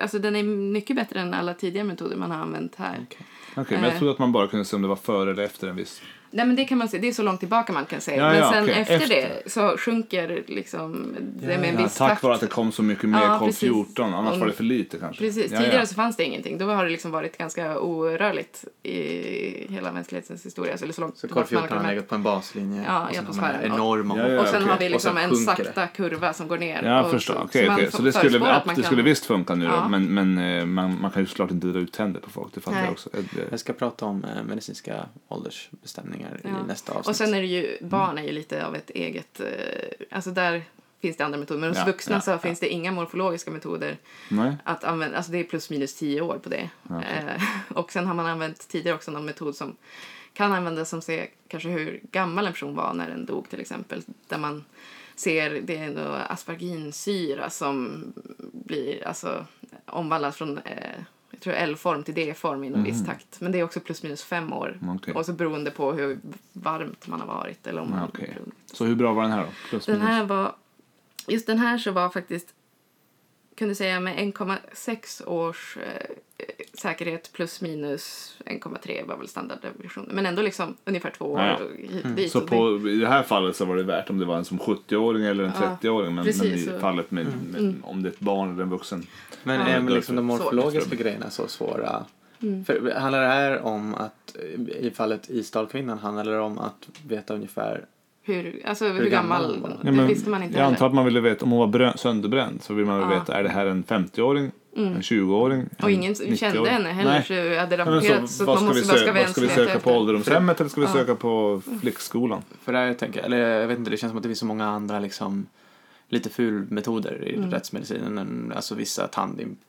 Speaker 3: Alltså den är mycket bättre än alla tidigare metoder man har använt här.
Speaker 2: Mm.
Speaker 1: Okej.
Speaker 2: Okej, men jag
Speaker 3: Eh.
Speaker 2: trodde att man bara kunde se om det var före eller efter en viss...
Speaker 3: Nej men det kan man se, det är så långt tillbaka man kan säga.
Speaker 2: Ja,
Speaker 3: men
Speaker 2: ja,
Speaker 3: sen
Speaker 2: okej.
Speaker 3: efter,
Speaker 2: Efter.
Speaker 3: det så sjunker liksom det med en
Speaker 2: Ja,
Speaker 3: viss
Speaker 2: tack
Speaker 3: takt.
Speaker 2: vare att det kom så mycket mer
Speaker 3: Ja,
Speaker 2: kol
Speaker 3: precis.
Speaker 2: 14, annars
Speaker 3: Om-
Speaker 2: var det för lite kanske.
Speaker 3: Precis,
Speaker 2: Ja,
Speaker 3: tidigare
Speaker 2: ja.
Speaker 3: så fanns det ingenting. Då har det liksom varit ganska orörligt i hela mänsklighetens historia. Alltså, eller så långt
Speaker 1: Så
Speaker 3: tillbaka man
Speaker 1: kol-14 har
Speaker 3: kan-
Speaker 1: legat på en baslinje
Speaker 3: Ja,
Speaker 1: och
Speaker 3: i
Speaker 1: sen har man den här
Speaker 3: atmosfären.
Speaker 1: enorma
Speaker 2: Ja, ja,
Speaker 1: hopp.
Speaker 3: Och sen
Speaker 2: okej.
Speaker 3: har vi
Speaker 1: Och
Speaker 3: liksom
Speaker 1: sen
Speaker 3: en
Speaker 1: sjunker
Speaker 3: sakta kurva som går ner.
Speaker 2: Ja,
Speaker 3: och
Speaker 2: förstår.
Speaker 3: så-
Speaker 2: Okej,
Speaker 3: så man
Speaker 2: okej. Så det skulle,
Speaker 3: förespår
Speaker 2: app,
Speaker 3: att man
Speaker 2: det
Speaker 3: kan-
Speaker 2: skulle visst funka nu då,
Speaker 3: Ja.
Speaker 2: men, men eh, man, man kan ju såklart inte dra ut tänder på folk. Det fattar
Speaker 3: Nej.
Speaker 2: jag också. Eh, eh,
Speaker 1: Jag ska prata om eh, medicinska åldersbestämningar
Speaker 3: Ja.
Speaker 1: i nästa avsnitt.
Speaker 3: Och sen är det ju, barn är ju lite av ett eget, eh, alltså där finns det andra metoder. Men hos
Speaker 2: Ja,
Speaker 3: vuxna
Speaker 2: ja,
Speaker 3: så finns det inga morfologiska metoder
Speaker 2: Nej?
Speaker 3: att använda, alltså det är plus minus tio år på det. Eh, och sen har man använt tidigare också någon metod som kan användas som ser kanske hur gammal en person var när den dog till exempel. Där man ser, det är nog asparginsyra som blir, alltså omvandlas från eh, jag tror L-form till D-form i någon viss takt. Men det är också plus minus fem år.
Speaker 2: Mm. Okej.
Speaker 3: Och så beroende på hur varmt man har varit. Eller om man
Speaker 2: Okej. Så hur bra var den här då? Plus,
Speaker 3: Den
Speaker 2: minus.
Speaker 3: här var, just den här så var faktiskt, kunde säga med 1,6 års eh, säkerhet plus minus 1,3 var väl standarddeviationen. Men ändå liksom ungefär två år
Speaker 2: Ja, ja. Mm.
Speaker 3: och hit och dit.
Speaker 2: Så
Speaker 3: Och det-
Speaker 2: på, i det här fallet så var det värt om det var en som 70-åring eller en
Speaker 3: Ja,
Speaker 2: 30-åring. Men, men
Speaker 3: precis, Mm.
Speaker 2: i
Speaker 3: så-
Speaker 2: fallet med, med, om det är ett barn eller en vuxen.
Speaker 1: Men
Speaker 3: Ja.
Speaker 1: är liksom de
Speaker 3: Svårt.
Speaker 1: morfologiska grejerna så svåra?
Speaker 3: Mm.
Speaker 1: För handlar det här om att, eh, i fallet Isdalkvinnan, handlar det om att veta ungefär...
Speaker 3: Hur, alltså, hur,
Speaker 1: gammal
Speaker 3: gammal,
Speaker 1: var den?
Speaker 3: det visste man inte
Speaker 2: jag
Speaker 3: heller.
Speaker 2: antar att man ville veta om hon var brö- sönderbränd. Så vill man väl
Speaker 3: Ja. Mm.
Speaker 2: veta, är det här en 50-åring? En 20-åring?
Speaker 3: Och
Speaker 2: en
Speaker 3: ingen
Speaker 2: 90-åring?
Speaker 3: kände henne heller
Speaker 2: Nej.
Speaker 3: så hade det
Speaker 2: Ja, men
Speaker 3: rapporterats.
Speaker 2: så,
Speaker 3: Så,
Speaker 2: vad
Speaker 3: att
Speaker 2: ska,
Speaker 3: man
Speaker 2: vi
Speaker 3: måste, vad
Speaker 2: söka,
Speaker 3: ska vi
Speaker 2: vad
Speaker 3: ens
Speaker 2: ska vi
Speaker 3: leta
Speaker 2: söka på
Speaker 3: efter?
Speaker 2: ålderdomshemmet eller ska vi
Speaker 3: Ja.
Speaker 2: söka på flickskolan?
Speaker 1: För det här tänker jag, eller jag vet inte, det känns som att det finns så många andra liksom lite fulmetoder
Speaker 3: Mm.
Speaker 1: i rättsmedicinen, alltså vissa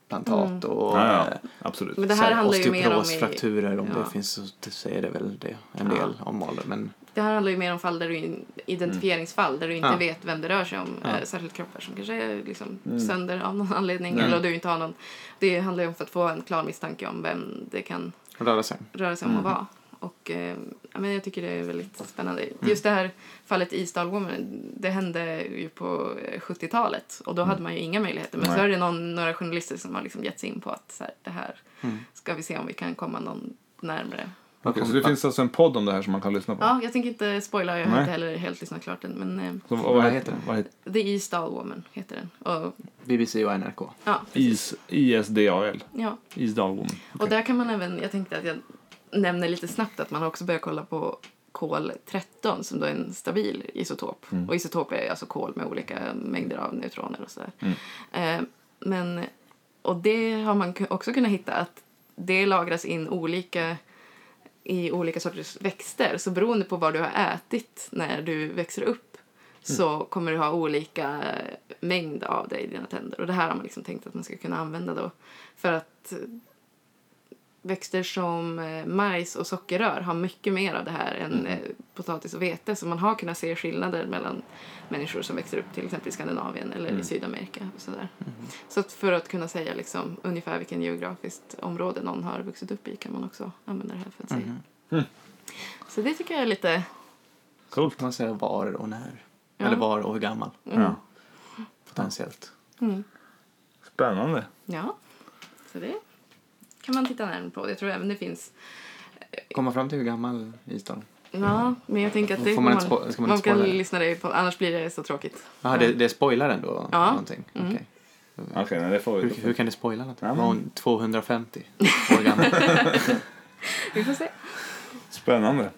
Speaker 1: tandimplantat och
Speaker 2: Ja, ja,
Speaker 1: eh,
Speaker 2: absolut.
Speaker 3: Men det
Speaker 1: så
Speaker 3: här
Speaker 1: här
Speaker 3: handlar ju mer om... i-
Speaker 1: osteoporosfrakturer om
Speaker 3: ja.
Speaker 1: det finns, så det säger det väl det en
Speaker 3: Ja.
Speaker 1: del om ålder. Men
Speaker 3: Det här handlar ju mer om fall där du in, identifieringsfall där du inte
Speaker 1: Ja.
Speaker 3: vet vem det rör sig om.
Speaker 1: Ja.
Speaker 3: Eh, särskilt kroppar som kanske är liksom sönder av någon anledning. Eller du inte har någon. Det handlar ju om för att få en klar misstanke om vem det kan
Speaker 1: röra sig.
Speaker 3: röra sig om att vara. Och eh, ja, men jag tycker det är väldigt spännande. Just det här fallet i Stalwoman, det hände ju på eh, 70-talet och då hade man ju inga möjligheter. Men så
Speaker 2: Nej.
Speaker 3: är det någon, några journalister som har liksom gett sig in på att så här, det här ska vi se om vi kan komma någon närmre.
Speaker 2: Okej, så det finns alltså en podd om det här som man kan lyssna på?
Speaker 3: Ja, jag tänker inte spoila, jag har
Speaker 2: Nej.
Speaker 3: inte heller helt lyssnat klart än. Men eh,
Speaker 2: Så, vad,
Speaker 1: Vad
Speaker 2: vad heter
Speaker 1: heter
Speaker 2: den? Vad heter
Speaker 3: The East Doll Woman heter den. Och,
Speaker 1: BBC och NRK.
Speaker 3: ja,
Speaker 2: IS, ISDAL?
Speaker 3: ja.
Speaker 2: ISDAL-woman.
Speaker 3: Och där kan man även, jag tänkte att jag nämner lite snabbt att man har också börjat kolla på kol-13 som då är en stabil isotop. Och isotop är alltså kol med olika mängder av neutroner och sådär. Eh, men, och det har man ku- också kunnat hitta att det lagras in olika i olika sorters växter. Så beroende på vad du har ätit när du växer upp så kommer du ha olika mängd av det i dina tänder. Och det här har man liksom tänkt att man ska kunna använda då för att växter som eh, majs och sockerrör har mycket mer av det här än
Speaker 1: Mm.
Speaker 3: eh, potatis och vete. Så man har kunnat se skillnader mellan människor som växer upp till exempel i Skandinavien eller
Speaker 1: Mm.
Speaker 3: i Sydamerika. Och sådär. Så att för att kunna säga liksom, ungefär vilken geografiskt område någon har vuxit upp i kan man också använda det här för att säga.
Speaker 1: Mm.
Speaker 3: Så det tycker jag är lite...
Speaker 2: Coolt.
Speaker 1: Man säger var och när.
Speaker 3: Ja.
Speaker 1: Eller var och hur gammal,
Speaker 3: Mm.
Speaker 2: Ja.
Speaker 1: potentiellt.
Speaker 2: Spännande.
Speaker 3: Ja, så det kan man titta närmare på. Jag tror även det finns...
Speaker 1: Komma fram till hur gammal Isdal
Speaker 3: Ja, men jag tänker att det
Speaker 1: Får man inte spo- ska man
Speaker 3: man
Speaker 1: inte
Speaker 3: kan
Speaker 1: spoila det?
Speaker 3: lyssna det på, annars blir det så tråkigt.
Speaker 1: Jaha, det, det spoilar ändå
Speaker 3: Ja. Mm.
Speaker 1: någonting? Okej.
Speaker 2: Okej, nej, det får vi.
Speaker 1: Hur, hur kan det spoila någonting?
Speaker 2: Ja, men-
Speaker 1: Var hon 250 år gammal?
Speaker 3: Vi får se.
Speaker 2: Spännande.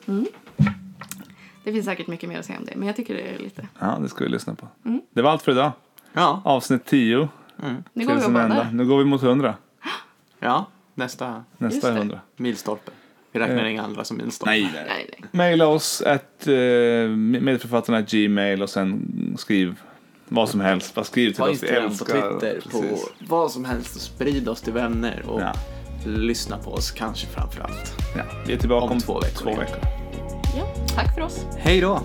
Speaker 3: Det finns säkert mycket mer att säga om det, men jag tycker det är lite... Mm.
Speaker 2: Ja, det ska vi lyssna på. Det var allt för idag.
Speaker 1: Ja,
Speaker 2: Avsnitt 10.
Speaker 3: Nu går
Speaker 2: till
Speaker 3: vi och
Speaker 2: sin ända.
Speaker 3: badar.
Speaker 2: Nu går vi mot 100.
Speaker 1: ja nästa
Speaker 3: Just
Speaker 2: Nästa
Speaker 3: det.
Speaker 2: är 100.
Speaker 1: milstolpe. Vi räknar inga andra som milstolpe.
Speaker 3: Nej, nej.
Speaker 2: Maila oss att eh, medförfattarna gmail och sen skriv vad som helst. Bara skriv till
Speaker 1: På
Speaker 2: oss. Vi
Speaker 1: Instagram, på
Speaker 2: älskar-
Speaker 1: Twitter, på
Speaker 2: Precis.
Speaker 1: vad som helst. och Sprid oss till vänner och
Speaker 2: Ja.
Speaker 1: lyssna på oss kanske framför allt.
Speaker 2: Ja. Vi är tillbaka
Speaker 1: Om
Speaker 2: om
Speaker 1: två veckor
Speaker 2: Två
Speaker 1: igen.
Speaker 2: veckor.
Speaker 3: Ja, tack för oss.
Speaker 1: Hej då!